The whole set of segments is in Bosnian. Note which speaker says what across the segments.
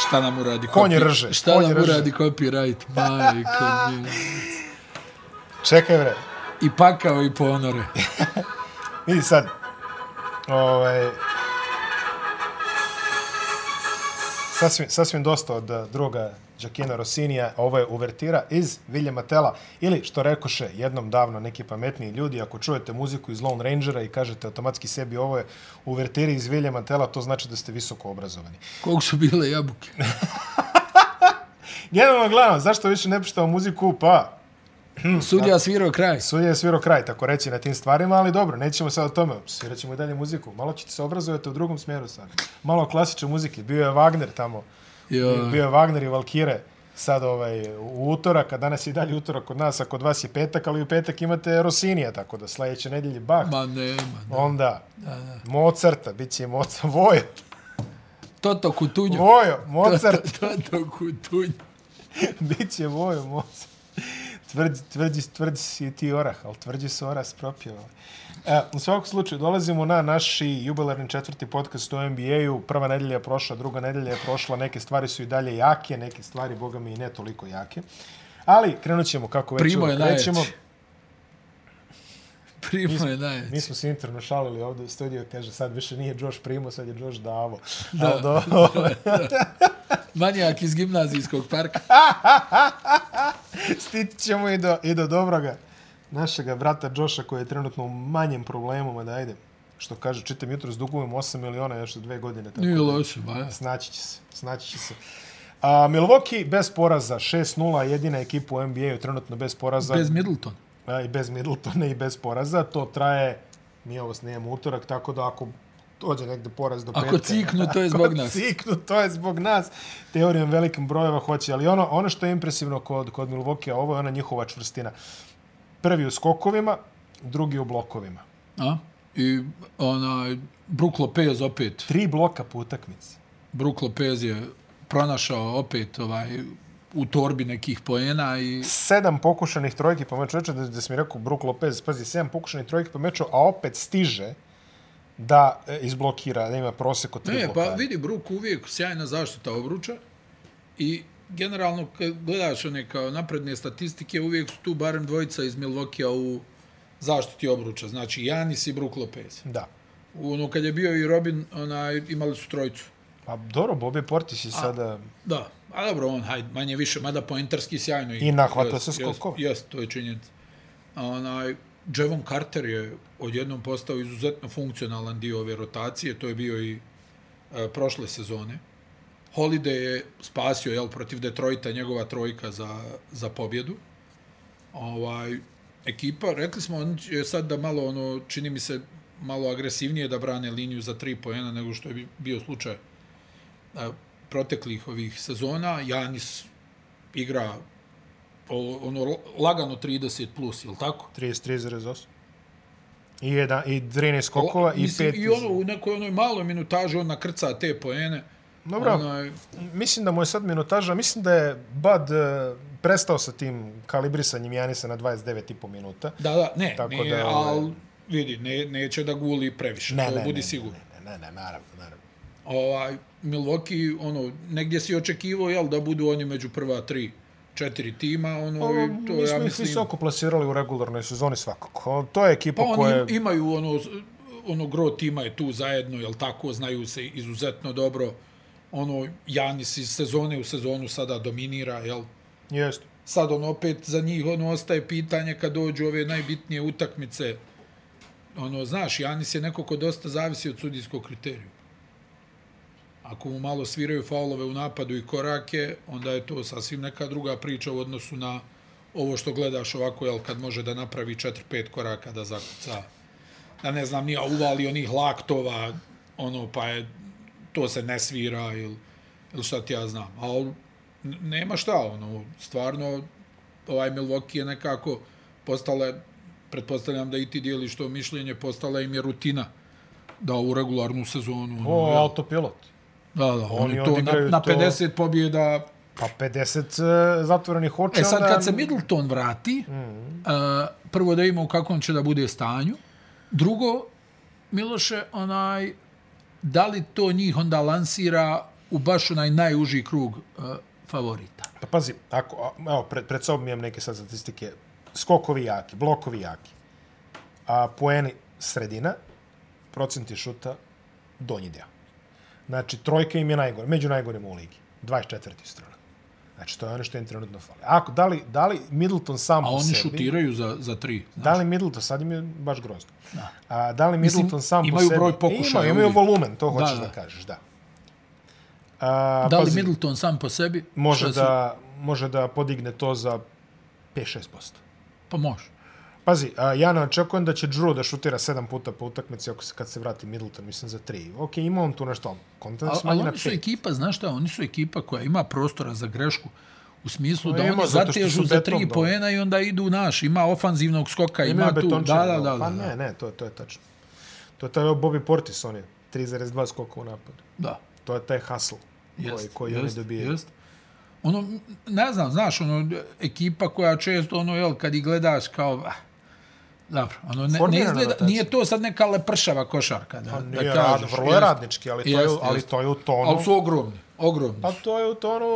Speaker 1: šta nam uradi
Speaker 2: Konj rže,
Speaker 1: Šta
Speaker 2: konj
Speaker 1: nam
Speaker 2: rže.
Speaker 1: uradi copyright, majko. mila.
Speaker 2: Čekaj, bre.
Speaker 1: I pakao i ponore.
Speaker 2: Vidi sad. Ovaj... Sasvim, sasvim dosta od eh, druga Giacchino Rossinija, ovo je uvertira iz Viljema Tela, ili što rekoše jednom davno neki pametniji ljudi, ako čujete muziku iz Lone Rangera i kažete automatski sebi ovo je uvertira iz Viljema Tela, to znači da ste visoko obrazovani.
Speaker 1: Koliko su bile jabuke.
Speaker 2: Generalno gledano, zašto više ne puštamo muziku? Pa,
Speaker 1: Sudija svirao kraj.
Speaker 2: Sudija je svirao kraj, tako reći, na tim stvarima, ali dobro, nećemo sad o tome, svirat ćemo i dalje muziku. Malo ćete se obrazujete u drugom smjeru sad. Malo klasične muzike, bio je Wagner tamo,
Speaker 1: Jo.
Speaker 2: bio je Wagner i Valkire sad ovaj, u utorak, a danas je i dalje utorak kod nas, a kod vas je petak, ali u petak imate Rosinija, tako da sledeće nedelje Bach,
Speaker 1: Ma nema. ne.
Speaker 2: onda Mozarta, bit će i Mozart, Vojo,
Speaker 1: Toto kutunjo.
Speaker 2: Vojo, Mozart,
Speaker 1: Toto kutunjo.
Speaker 2: bit će Vojo, Mozart. Tvrđi, tvrđi, tvrđi si ti orah, ali tvrđi su orah spropio. E, u svakom slučaju, dolazimo na naši jubilarni četvrti podcast o NBA-u. Prva nedelja je prošla, druga nedelja je prošla, neke stvari su i dalje jake, neke stvari, boga mi, i ne toliko jake. Ali krenut ćemo kako već
Speaker 1: Primo je
Speaker 2: uvek krećemo.
Speaker 1: najjači. Primo je najjači.
Speaker 2: Mi smo se interno šalili ovdje u studiju, kaže sad više nije Josh Primo, sad je Josh Davo.
Speaker 1: Da.
Speaker 2: Da, do,
Speaker 1: Manijak iz gimnazijskog parka.
Speaker 2: Stići ćemo i do, i do dobroga našega brata Joša koji je trenutno u manjem problemu, mada ajde, što kaže, čitam jutro, dugujem 8 miliona još za dve godine. Tako.
Speaker 1: Nije loše, ba.
Speaker 2: Snaći će se, snaći će se. A, Milwaukee bez poraza, 6-0, jedina ekipa u NBA-u trenutno bez poraza.
Speaker 1: Bez Middleton.
Speaker 2: a, i bez Middletona i bez poraza. To traje, mi ovo snijemo utorak, tako da ako dođe negde poraz do
Speaker 1: Ako
Speaker 2: petka...
Speaker 1: ciknu, to je
Speaker 2: ako
Speaker 1: zbog nas.
Speaker 2: ciknu, to je zbog nas. Teorijom velikim brojeva hoće, ali ono, ono što je impresivno kod, kod Milwaukee, ovo je ona njihova čvrstina. Prvi u skokovima, drugi u blokovima.
Speaker 1: A? I onaj, Brook Lopez opet.
Speaker 2: Tri bloka po utakmici.
Speaker 1: Brook Lopez je pronašao opet ovaj u torbi nekih poena i
Speaker 2: Sedam pokušanih trojki po meču. Reče da, da si mi rekao Brook Lopez, pazi, sedam pokušanih trojki po meču, a opet stiže da e, izblokira, da ima prosek od tri
Speaker 1: Ne,
Speaker 2: blokade.
Speaker 1: pa vidi, Brook uvijek sjajna zaštita obruča i generalno kad gledaš one kao napredne statistike, uvijek su tu barem dvojica iz Milvokija u zaštiti obruča. Znači, Janis i Brook Lopez.
Speaker 2: Da.
Speaker 1: Ono, kad je bio i Robin, onaj, imali su trojicu.
Speaker 2: Pa dobro, Bobby Portis je sada...
Speaker 1: Da, a dobro, on, hajde, manje više, mada poentarski sjajno. igra.
Speaker 2: I nahvata
Speaker 1: Jest,
Speaker 2: se skokova.
Speaker 1: Jest, jest, to je činjenica. A onaj, Javon Carter je odjednom postao izuzetno funkcionalan dio ove rotacije, to je bio i e, prošle sezone. Holiday je spasio, jel, protiv Detroita, njegova trojka za, za pobjedu. Ovaj, ekipa, rekli smo, on je sad da malo, ono, čini mi se, malo agresivnije da brane liniju za tri pojena nego što je bi- bio slučaj a, proteklih ovih sezona. Janis igra o, ono la- lagano 30 plus, jel tako?
Speaker 2: 33,8. I, jedan, I 13 skokova i
Speaker 1: Mislim,
Speaker 2: 5...
Speaker 1: I ono, u nekoj onoj maloj minutaži on nakrca te poene. Ono,
Speaker 2: Dobro,
Speaker 1: Onaj,
Speaker 2: mislim da mu je sad minutaža, mislim da je Bud e, prestao sa tim kalibrisanjem Janisa na 29,5 minuta.
Speaker 1: da, da, ne,
Speaker 2: Tako
Speaker 1: Tako nije,
Speaker 2: da,
Speaker 1: da,
Speaker 2: ovaj-
Speaker 1: ali vidi, ne, neće da guli previše,
Speaker 2: Ne,
Speaker 1: to
Speaker 2: ne,
Speaker 1: budi
Speaker 2: ne,
Speaker 1: sigurno.
Speaker 2: Ne, ne, ne, ne, naravno, naravno.
Speaker 1: Ovaj, Milwaukee, ono, negdje si očekivao, jel, da budu oni među prva tri, četiri tima, ono,
Speaker 2: Ovo,
Speaker 1: i to
Speaker 2: mi smo
Speaker 1: ja
Speaker 2: ih
Speaker 1: mislim...
Speaker 2: visoko plasirali u regularnoj sezoni svakako. O, To je ekipa
Speaker 1: Pa oni
Speaker 2: koja...
Speaker 1: im- imaju ono, ono gro tima je tu zajedno, jel tako, znaju se izuzetno dobro. Ono, Janis iz sezone u sezonu sada dominira, jel?
Speaker 2: Jeste.
Speaker 1: Sad ono opet za njih ono ostaje pitanje kad dođu ove najbitnije utakmice. Ono, znaš, Janis je neko ko dosta zavisi od sudijskog kriterija. Ako mu malo sviraju faulove u napadu i korake, onda je to sasvim neka druga priča u odnosu na ovo što gledaš ovako, jel, kad može da napravi 4-5 koraka da zakuca. Da ne znam, nije uvali onih laktova, ono, pa je, to se ne svira ili, ili šta ti ja znam. Ali n- nema šta, ono, stvarno, ovaj Milwaukee je nekako postala, pretpostavljam da i ti dijeliš to mišljenje, postala im je rutina da u regularnu sezonu... ono,
Speaker 2: O,
Speaker 1: jel,
Speaker 2: autopilot.
Speaker 1: Da, da,
Speaker 2: Oni
Speaker 1: oni, to na,
Speaker 2: odigraju
Speaker 1: na
Speaker 2: to-
Speaker 1: 50 pobjeda.
Speaker 2: Pa 50 e, zatvorenih oča.
Speaker 1: E sad
Speaker 2: onda-
Speaker 1: kad se Middleton vrati, mm -hmm. uh, prvo da ima u kakvom će da bude stanju, drugo, Miloše, onaj, da li to njih onda lansira u baš onaj najuži krug uh, favorita.
Speaker 2: Pa pazi, ako, a, evo, pred, pred sobom imam neke sad statistike. Skokovi jaki, blokovi jaki. A poeni sredina, procenti šuta donji deo. Znači, trojka im je najgore, među najgorim u ligi. 24. strana. Znači, to je ono što im trenutno fali. Ako, da li, da li Middleton sam
Speaker 1: A
Speaker 2: po
Speaker 1: oni
Speaker 2: sebi...
Speaker 1: šutiraju za, za tri.
Speaker 2: Da li Middleton, sad im je baš grozno.
Speaker 1: Da.
Speaker 2: A, da li
Speaker 1: Mislim,
Speaker 2: Middleton sam po
Speaker 1: imaju
Speaker 2: sebi...
Speaker 1: broj pokušaja
Speaker 2: Imaju, imaju
Speaker 1: uvijek.
Speaker 2: volumen, to hoćeš da,
Speaker 1: da.
Speaker 2: da. kažeš, da. A,
Speaker 1: Da li
Speaker 2: pazi,
Speaker 1: Middleton sam po sebi?
Speaker 2: može
Speaker 1: Šta su-
Speaker 2: da, može da podigne to za 5-6%.
Speaker 1: Pa može.
Speaker 2: Pazi, a, ja ne očekujem da će Drew da šutira 7 puta po utakmici ako se, kad se vrati Middleton, mislim za 3. Ok, ima on tu nešto, ali kontent
Speaker 1: A,
Speaker 2: smanji
Speaker 1: ali
Speaker 2: na
Speaker 1: oni su
Speaker 2: 5.
Speaker 1: ekipa, znaš šta, oni su ekipa koja ima prostora za grešku u smislu
Speaker 2: Pa
Speaker 1: da
Speaker 2: ima,
Speaker 1: oni
Speaker 2: zato što
Speaker 1: zatežu
Speaker 2: su
Speaker 1: za
Speaker 2: beton
Speaker 1: tri
Speaker 2: dole.
Speaker 1: poena i onda idu naš. Ima ofanzivnog skoka, ima, tu. Da, da, da, da,
Speaker 2: pa ne,
Speaker 1: da,
Speaker 2: ne, to, to je tačno. To je taj Bobby Portis, on je 3,2 skoka u napadu.
Speaker 1: da.
Speaker 2: To je taj hustle koji, koji oni dobijaju.
Speaker 1: Jest. Ono, ne znam, znaš, ono, ekipa koja često, ono, jel, kad ih gledaš kao, ah, dobro, ono, ne, ne
Speaker 2: Formirana
Speaker 1: izgleda,
Speaker 2: rotacija.
Speaker 1: nije to sad neka lepršava košarka, da,
Speaker 2: Pa
Speaker 1: da
Speaker 2: nije
Speaker 1: kažeš.
Speaker 2: rad, vrlo je
Speaker 1: jest.
Speaker 2: radnički, ali to je,
Speaker 1: Jeste,
Speaker 2: ali
Speaker 1: jeste.
Speaker 2: to je u tonu.
Speaker 1: Ali su ogromni, ogromni.
Speaker 2: Pa to je u tonu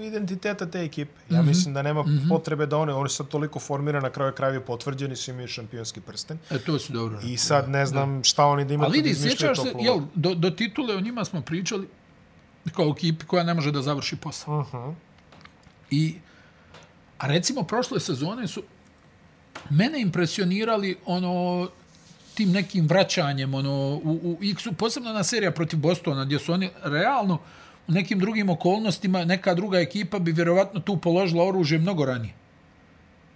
Speaker 2: e, identiteta te ekipe. Ja mm
Speaker 1: Mhm.
Speaker 2: -hmm. mislim da nema mm -hmm. potrebe da one, oni su sad toliko formirani, na kraju kraju potvrđeni su imaju šampionski prsten.
Speaker 1: E, to su dobro.
Speaker 2: I sad ne znam šta oni da imaju.
Speaker 1: Ali vidi, sjećaš se, jel, do, do titule o njima smo pričali kao ekipi koja ne može da završi posao.
Speaker 2: Uh -huh.
Speaker 1: I, a recimo, prošle sezone su mene impresionirali ono tim nekim vraćanjem ono, u, u X-u, posebno na serija protiv Bostona, gdje su oni realno u nekim drugim okolnostima, neka druga ekipa bi vjerovatno tu položila oružje mnogo ranije.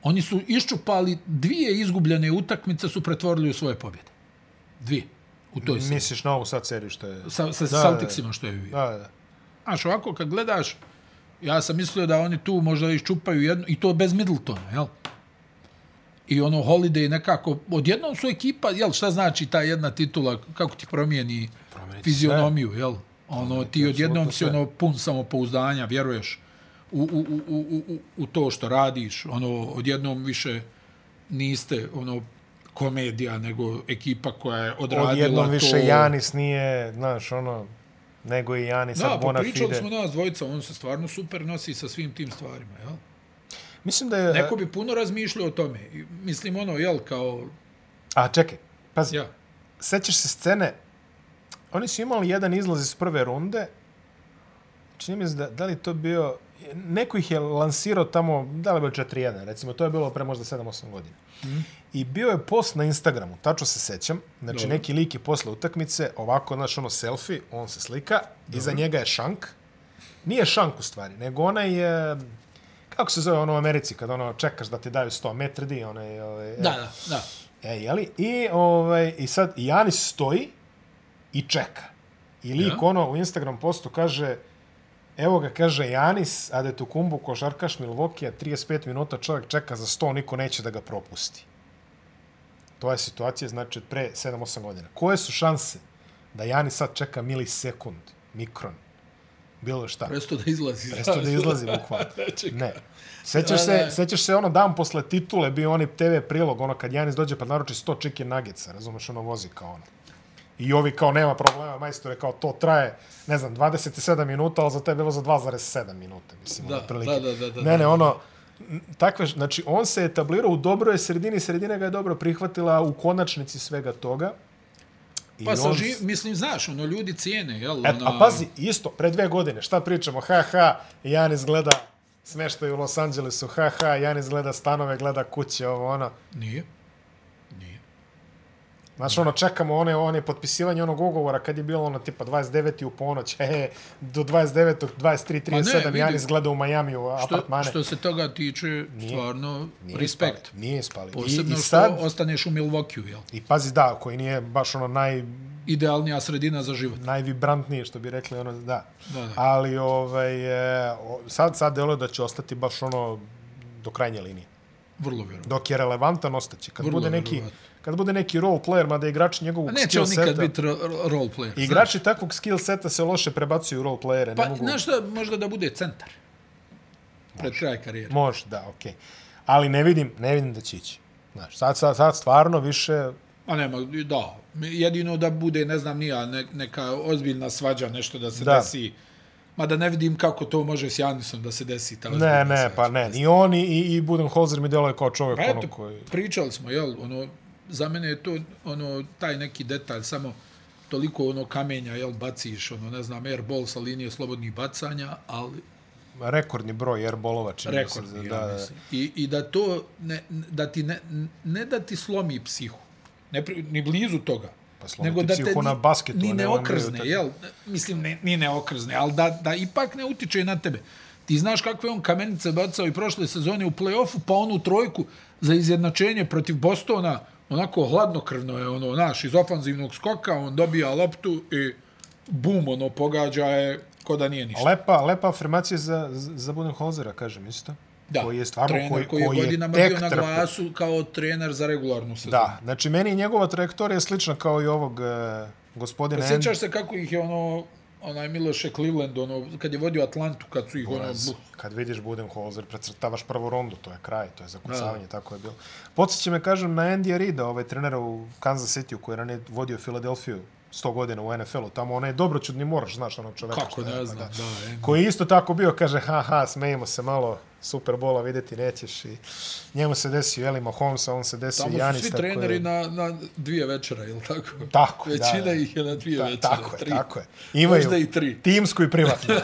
Speaker 1: Oni su iščupali dvije izgubljene utakmice su pretvorili u svoje pobjede. Dvije. U toj seriji.
Speaker 2: Misliš na ovu sad seriju što je...
Speaker 1: Sa, sa
Speaker 2: Da,
Speaker 1: da, Celticsima što je bio.
Speaker 2: Da, da, da.
Speaker 1: Znaš, ovako kad gledaš, ja sam mislio da oni tu možda iščupaju jedno, i to bez Middletona, jel? I ono Holiday nekako, odjednom su ekipa, jel, šta znači ta jedna titula, kako ti promijeni
Speaker 2: Promijeni
Speaker 1: fizionomiju, jel? Ono, ti
Speaker 2: ti
Speaker 1: odjednom si
Speaker 2: apsolutno sve.
Speaker 1: ono pun samopouzdanja, vjeruješ u, u, u, u, u, u to što radiš, ono, odjednom više niste, ono, komedija, nego ekipa koja je odradila
Speaker 2: Odjednom
Speaker 1: to...
Speaker 2: više Janis nije, znaš, ono, nego i Janis
Speaker 1: Da,
Speaker 2: sad
Speaker 1: pa
Speaker 2: bona
Speaker 1: pričali
Speaker 2: fide.
Speaker 1: smo nas dvojica, on se stvarno super nosi sa svim tim stvarima, jel?
Speaker 2: Mislim da je...
Speaker 1: Neko bi puno razmišljao o tome. I, Mislim, ono, jel, kao,
Speaker 2: A, čekaj, pazi.
Speaker 1: ja,
Speaker 2: sećaš se scene, oni su imali jedan izlaz iz prve runde, čini mi se da, da li je to bio, neko ih je lansirao tamo, da li je bio 4-1, recimo, to je bilo pre možda 7-8 godina. I bio je post na Instagramu, tačno se sećam, znači
Speaker 1: Dobro.
Speaker 2: neki lik je posle utakmice, ovako, znaš, ono selfie, on se slika, Dobro. iza njega je šank, nije šank u stvari, nego onaj je, kako se zove ono u Americi, kad ono čekaš da ti daju 100 metri, onaj, ovaj,
Speaker 1: da, da, da.
Speaker 2: E, jeli? I, ovaj, I sad i Janis stoji i čeka. I lik
Speaker 1: Ja.
Speaker 2: ono u Instagram postu kaže evo ga, kaže Janis Adetokumbu, košarkaš Milvokija, 35 minuta čovjek čeka za 100, niko neće da ga propusti. To je situacija, znači, od pre 7-8 godina. Koje su šanse da Janis sad čeka milisekund, mikron, bilo šta?
Speaker 1: Presto da izlazi. Znači,
Speaker 2: Presto da izlazi bukvalno.
Speaker 1: Čekaj.
Speaker 2: Ne. Sećaš
Speaker 1: Da,
Speaker 2: se,
Speaker 1: da.
Speaker 2: sećaš se ono dan posle titule bio onaj TV prilog, ono kad Janis dođe pa naruči 100 chicken nuggetsa, razumeš, ono vozi kao ono. I ovi kao nema problema, majstore, kao to traje, ne znam, 27 minuta, ali za tebe je bilo za 2,7 minuta, mislim,
Speaker 1: Da,
Speaker 2: ono, otprilike.
Speaker 1: da, da, da, da,
Speaker 2: Ne, ne,
Speaker 1: da.
Speaker 2: ono, n- takve, š- znači on se etablirao u dobroj sredini, sredina ga je dobro prihvatila u konačnici svega toga. I
Speaker 1: Pa sa
Speaker 2: on-
Speaker 1: ži, mislim, znaš, ono, ljudi cijene, jel? ono,
Speaker 2: Et,
Speaker 1: ona-
Speaker 2: E, a pazi, isto, pre dve godine, šta pričamo, ha, ha, Janis gleda smeštaj u Los Angelesu, ha, ha, Janis gleda stanove, gleda kuće, ovo, ono.
Speaker 1: Nije. Nije.
Speaker 2: Znači, ono, čekamo one, one potpisivanje onog ugovora kad je bilo ono tipa 29. u ponoć, he, he, do 29. 23.
Speaker 1: Ma ne,
Speaker 2: 37.
Speaker 1: vidi.
Speaker 2: Janis gleda u Majamiju
Speaker 1: Što,
Speaker 2: apartmane.
Speaker 1: što se toga tiče, stvarno,
Speaker 2: Nije
Speaker 1: respekt.
Speaker 2: Ispali, nije ispali.
Speaker 1: Posebno
Speaker 2: I, i sad,
Speaker 1: što ostaneš u Milwaukee, jel?
Speaker 2: I pazi, da, koji nije baš ono naj,
Speaker 1: Idealnija sredina za život.
Speaker 2: najvibrantnije, što bi rekli, ono, da.
Speaker 1: Da, da.
Speaker 2: Ali, ovaj, e, o- sad, sad deluje da će ostati baš ono do krajnje linije.
Speaker 1: Vrlo vjerovatno.
Speaker 2: dok je relevantan ostaće. Kad
Speaker 1: Vrlo
Speaker 2: bude neki
Speaker 1: verovatno.
Speaker 2: kad bude neki role player, mada igrači njegovog
Speaker 1: A neće
Speaker 2: skill
Speaker 1: on nikad
Speaker 2: seta,
Speaker 1: biti ro- ro- role player. znaš.
Speaker 2: igrači takvog skill seta se loše prebacuju u role playere,
Speaker 1: Pa,
Speaker 2: ne mogu.
Speaker 1: znaš šta, možda da bude centar. Pred kraj karijere.
Speaker 2: Može, da, okej. Okay. Ali ne vidim, ne vidim da će ići. Znaš, sad, sad, sad stvarno više
Speaker 1: A nema, da. Jedino da bude, ne znam, nija ne- neka ozbiljna svađa, nešto da se
Speaker 2: Da.
Speaker 1: desi Mada ne vidim kako to može s Janisom da se desi. Ta
Speaker 2: Ne,
Speaker 1: ozbiljna
Speaker 2: ne,
Speaker 1: sreća.
Speaker 2: pa ne. I on i, i Budenholzer mi deluje kao čovjek
Speaker 1: Pa
Speaker 2: ono
Speaker 1: eto,
Speaker 2: koji...
Speaker 1: pričali smo, jel, ono, za mene je to, ono, taj neki detalj, samo toliko ono kamenja, jel, baciš, ono, ne znam, airball sa linije slobodnih bacanja, ali
Speaker 2: rekordni broj airbolova čini mi se,
Speaker 1: rekordni,
Speaker 2: da,
Speaker 1: ja
Speaker 2: da.
Speaker 1: mislim. I, I da to, ne, da ti ne, ne da ti slomi psihu, ne, pri- ni blizu toga,
Speaker 2: Pa slomi ti psihu na basketu, a
Speaker 1: ni
Speaker 2: ne
Speaker 1: ne
Speaker 2: u NBA
Speaker 1: okrzne,
Speaker 2: utakmici.
Speaker 1: jel? Mislim, ne, ni ne okrzne, ali da, da ipak ne utiče na tebe. Ti znaš kakve on kamenice bacao i prošle sezone u play-offu, pa onu trojku za izjednačenje protiv Bostona, onako hladnokrvno je ono, naš, iz ofanzivnog skoka, on dobija loptu i bum, ono, pogađa je ko da nije ništa.
Speaker 2: Lepa, lepa afirmacija za, za Budenholzera, kažem isto.
Speaker 1: Da,
Speaker 2: koji je stvarno,
Speaker 1: trener
Speaker 2: koji,
Speaker 1: koji, je godinama
Speaker 2: tek
Speaker 1: bio na
Speaker 2: trpi.
Speaker 1: glasu kao trener za regularnu sezonu.
Speaker 2: Da, znači meni je njegova trajektorija slična kao i ovog e, gospodina End-
Speaker 1: Sjećaš se kako ih je ono, onaj Miloše Cleveland, ono, kad je vodio Atlantu, kad su ih ono...
Speaker 2: Buraz. Kad vidiš Budenholzer, precrtavaš prvu rundu, to je kraj, to je zakucavanje, tako je bilo. Podsjeća me, kažem, na Andy Rida, ovaj trenera u Kansas City, koji je ranije vodio Filadelfiju 100 godina u NFL-u, tamo onaj dobroćudni moraš, znaš onog čoveka.
Speaker 1: Kako
Speaker 2: što je, pa
Speaker 1: ne znam, da. da e.
Speaker 2: koji je isto tako bio, kaže, ha, ha, smejimo se malo, Superbola vidjeti nećeš i njemu se desio Elima Holmes, a on se desio
Speaker 1: Tamo
Speaker 2: Znači, Janis.
Speaker 1: su svi
Speaker 2: tako je-
Speaker 1: treneri na, na dvije večera, je li tako?
Speaker 2: Tako, da,
Speaker 1: Većina
Speaker 2: da.
Speaker 1: ih je na dvije
Speaker 2: Ta-
Speaker 1: večera,
Speaker 2: tako
Speaker 1: tri.
Speaker 2: je, tako je. Imaju
Speaker 1: Možda i tri.
Speaker 2: Timsku i privatnu.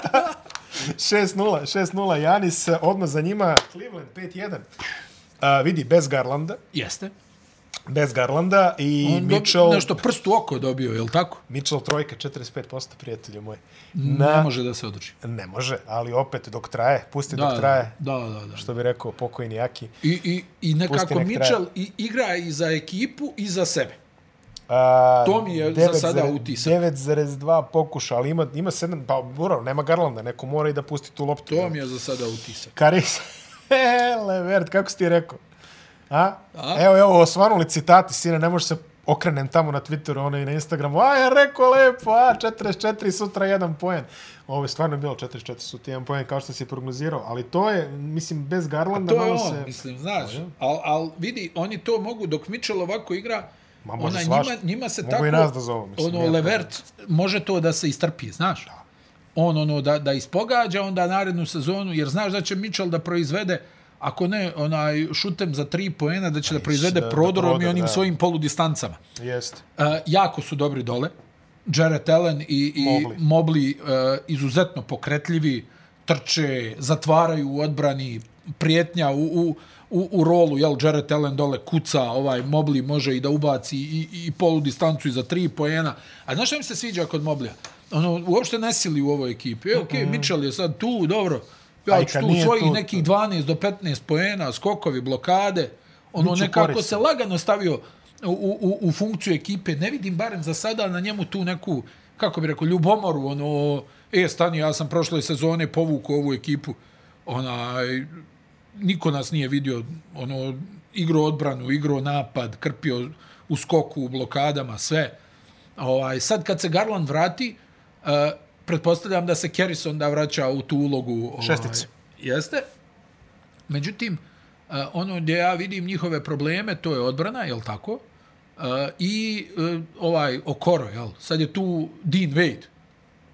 Speaker 2: 6-0, 6-0 Janis, odmah za njima Cleveland 5-1. A, vidi, bez Garlanda,
Speaker 1: Jeste.
Speaker 2: bez Garlanda i
Speaker 1: On
Speaker 2: Mitchell,
Speaker 1: Mitchell... nešto prst u oko dobio, je li tako?
Speaker 2: Mitchell trojka 45%, prijatelju moj.
Speaker 1: Ne
Speaker 2: Na,
Speaker 1: može da se održi.
Speaker 2: ne može, ali opet dok traje, pusti
Speaker 1: Da,
Speaker 2: dok traje,
Speaker 1: da, da, da.
Speaker 2: što bi rekao pokojni Jaki.
Speaker 1: I, i, i
Speaker 2: Pusti
Speaker 1: nekako
Speaker 2: nek traje.
Speaker 1: Mitchell i, igra i za ekipu i za sebe.
Speaker 2: A,
Speaker 1: To mi je za
Speaker 2: 9,2
Speaker 1: sada utisak.
Speaker 2: 9,2 pokuša, ali ima, ima 7, pa mora, nema Garlanda, neko mora i da pusti tu loptu.
Speaker 1: To mi je za sada utisak.
Speaker 2: Karis, Levert, kako si ti rekao? A?
Speaker 1: A?
Speaker 2: Evo, evo, osvanuli citati, sine, ne može se okrenem tamo na Twitteru, ono i na Instagramu, a ja rekao lepo, a 44, sutra jedan poen. Ovo je stvarno bilo 44, sutra jedan poen, kao što si prognozirao, ali to je, mislim, bez Garlanda,
Speaker 1: To je
Speaker 2: malo
Speaker 1: on,
Speaker 2: se...
Speaker 1: mislim, znaš. Al, al vidi, oni to mogu, dok Mitchell ovako igra,
Speaker 2: Ma, može
Speaker 1: ona,
Speaker 2: svašta.
Speaker 1: njima, njima se
Speaker 2: Mogu
Speaker 1: tako...
Speaker 2: i nas da zovu, mislim,
Speaker 1: Ono,
Speaker 2: nije to-
Speaker 1: Levert, može to da se istrpi, znaš. On, ono, da, da ispogađa onda narednu sezonu, jer znaš da će Mitchell da proizvede, ako ne, onaj, šutem za tri poena, da će da proizvede
Speaker 2: da- da
Speaker 1: prodorom i
Speaker 2: prodor,
Speaker 1: onim
Speaker 2: da.
Speaker 1: svojim poludistancama.
Speaker 2: Jeste.
Speaker 1: Uh, jako su dobri dole. Jarrett Allen i, i
Speaker 2: Mobley.
Speaker 1: Mobley, Mobley uh, izuzetno pokretljivi, trče, zatvaraju u odbrani, prijetnja u, u, u, u rolu, jel, Jarrett Allen dole kuca, ovaj Mobley može i da ubaci i, i i polu distancu i za tri poena. A znaš šta mi se sviđa kod Mobleya? Ono, uopšte ne sili u ovoj ekipi. E, okej, okay, Mitchell je sad tu, dobro,
Speaker 2: Aj,
Speaker 1: ja ću
Speaker 2: kad
Speaker 1: tu
Speaker 2: nije
Speaker 1: svojih
Speaker 2: tu,
Speaker 1: nekih 12 do 15 poena, skokovi, blokade, ono
Speaker 2: Biće
Speaker 1: nekako
Speaker 2: koristan.
Speaker 1: se lagano stavio u, u, u funkciju ekipe. Ne vidim barem za sada na njemu tu neku, kako bi rekao, ljubomoru, ono, e, stani, ja sam prošle sezone povukao ovu ekipu, onaj, niko nas nije vidio, ono, igro odbranu, igro napad, krpio u skoku, u blokadama, sve. Ovaj, sad kad se Garland vrati, uh, pretpostavljam da se Kerrison da vraća u tu ulogu. Ovaj,
Speaker 2: Šesticu.
Speaker 1: Jeste. Međutim, uh, ono gdje ja vidim njihove probleme, to je odbrana, jel tako? Uh, I uh, ovaj Okoro, jel? Sad je tu Dean Wade,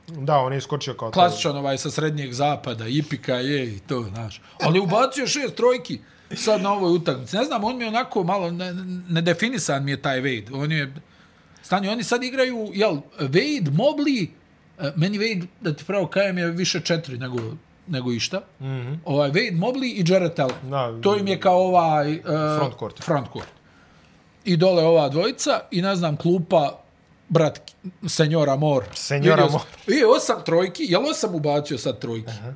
Speaker 2: Da, on je iskočio kao...
Speaker 1: klasičan ovaj sa srednjeg zapada, Ipika je i to, znaš. Ali ubacio šest trojki sad na ovoj utakmici. Ne znam, on mi je onako malo ne- nedefinisan mi je taj Wade. On je, stani, oni sad igraju, jel, Wade, Mobley, e, meni Wade, da ti pravo kajem, je više četiri nego, nego išta. Mm -hmm. ovaj, Wade, Mobley i Jarrett Allen.
Speaker 2: Mhm. Da,
Speaker 1: to im je kao ovaj... e,
Speaker 2: Frontcourt.
Speaker 1: Frontcourt. I dole ova dvojica i ne znam, klupa brat senjora Mor.
Speaker 2: Senjora
Speaker 1: Vidio sam-
Speaker 2: Moore.
Speaker 1: I osam trojki, jel osam ubacio sad trojki? Aha.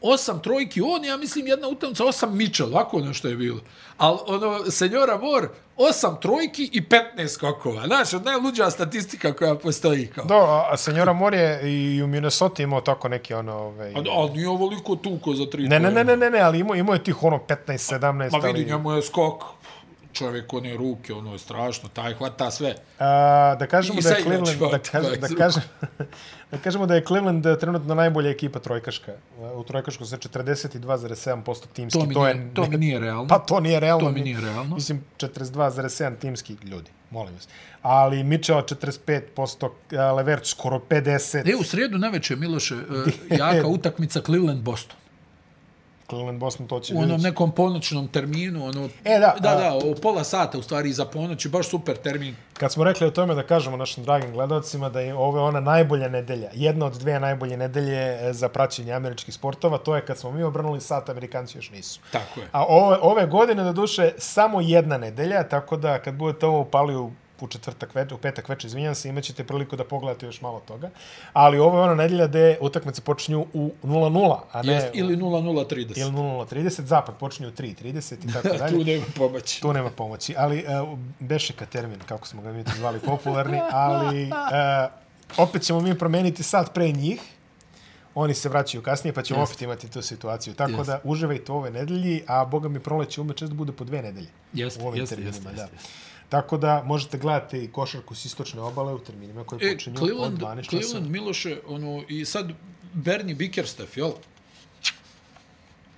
Speaker 1: Osam trojki, on, ja mislim, jedna utamca, osam Mitchell, ovako nešto je bilo. Ali, ono, senjora Mor, osam trojki i 15 skokova. Znaš, od najluđa statistika koja postoji. Kao.
Speaker 2: Do, a, a senjora Mor je i u Minnesota imao tako neki ono... Ovaj...
Speaker 1: Pa, A, a nije ovoliko tuko za tri
Speaker 2: Ne, ne, ne,
Speaker 1: pojena.
Speaker 2: ne, ne, ne, ali imao, imao je tih ono 15, 17,
Speaker 1: Ma vidi,
Speaker 2: ali...
Speaker 1: njemu je skok, čovjek one ruke, ono je strašno, taj hvata sve.
Speaker 2: Znači, A, da kažemo
Speaker 1: I
Speaker 2: da je
Speaker 1: sad
Speaker 2: Cleveland,
Speaker 1: igrač,
Speaker 2: da,
Speaker 1: pa,
Speaker 2: kažem, da,
Speaker 1: pa,
Speaker 2: kažem, da kažemo da je Cleveland eh, trenutno najbolja ekipa trojkaška. U trojkašku sa 42,7% timski.
Speaker 1: To mi,
Speaker 2: to je,
Speaker 1: nije, to mi nije realno.
Speaker 2: pa to nije realno.
Speaker 1: to mi nije realno.
Speaker 2: Mislim, 42,7 timski ljudi. molim vas. Ali Mitchell 45%, a, eh, Levert skoro 50%,
Speaker 1: E, u sredu naveče, Miloše, e, jaka utakmica Cleveland-Boston.
Speaker 2: Cleveland Boston to će
Speaker 1: U onom
Speaker 2: vidjeti.
Speaker 1: nekom ponoćnom terminu, ono...
Speaker 2: E, da,
Speaker 1: da,
Speaker 2: a-
Speaker 1: da, o pola sata, u stvari, iza ponoći, baš super termin.
Speaker 2: Kad smo rekli o tome da kažemo našim dragim gledalcima da je ovo ona najbolja nedelja, jedna od dve najbolje nedelje e, za praćenje američkih sportova, to je kad smo mi obrnuli sat, Amerikanci još nisu.
Speaker 1: Tako je.
Speaker 2: A ove, ove godine, do duše, samo jedna nedelja, tako da kad budete ovo upali u u četvrtak večer, u petak večer, izvinjam se, imat ćete priliku da pogledate još malo toga. Ali ovo je ona nedelja gde utakmice počinju u 0-0, a ne
Speaker 1: Jest, ili
Speaker 2: ili
Speaker 1: 0-0-30.
Speaker 2: 0-0-30, zapad počinju u 3-30 i tako dalje.
Speaker 1: Tu nema pomaći.
Speaker 2: Tu nema pomoći, ali e, beše ka termin, kako smo ga mi to zvali, popularni, ali e, opet ćemo mi promeniti sat pre njih. Oni se vraćaju kasnije, pa ćemo
Speaker 1: Jeste.
Speaker 2: opet imati tu situaciju. Tako
Speaker 1: Jeste.
Speaker 2: da uživajte ove nedelji, a boga mi proleće ume često bude po dve nedelje.
Speaker 1: Jeste,
Speaker 2: u ovim
Speaker 1: jeste,
Speaker 2: terminima,
Speaker 1: jeste,
Speaker 2: da.
Speaker 1: jeste.
Speaker 2: Tako da možete gledati i košarku s istočne obale u terminima koji
Speaker 1: E,
Speaker 2: počinju
Speaker 1: Cleveland,
Speaker 2: od 12 časa.
Speaker 1: Cleveland Miloše, ono, i sad Bernie Bickerstaff, jel?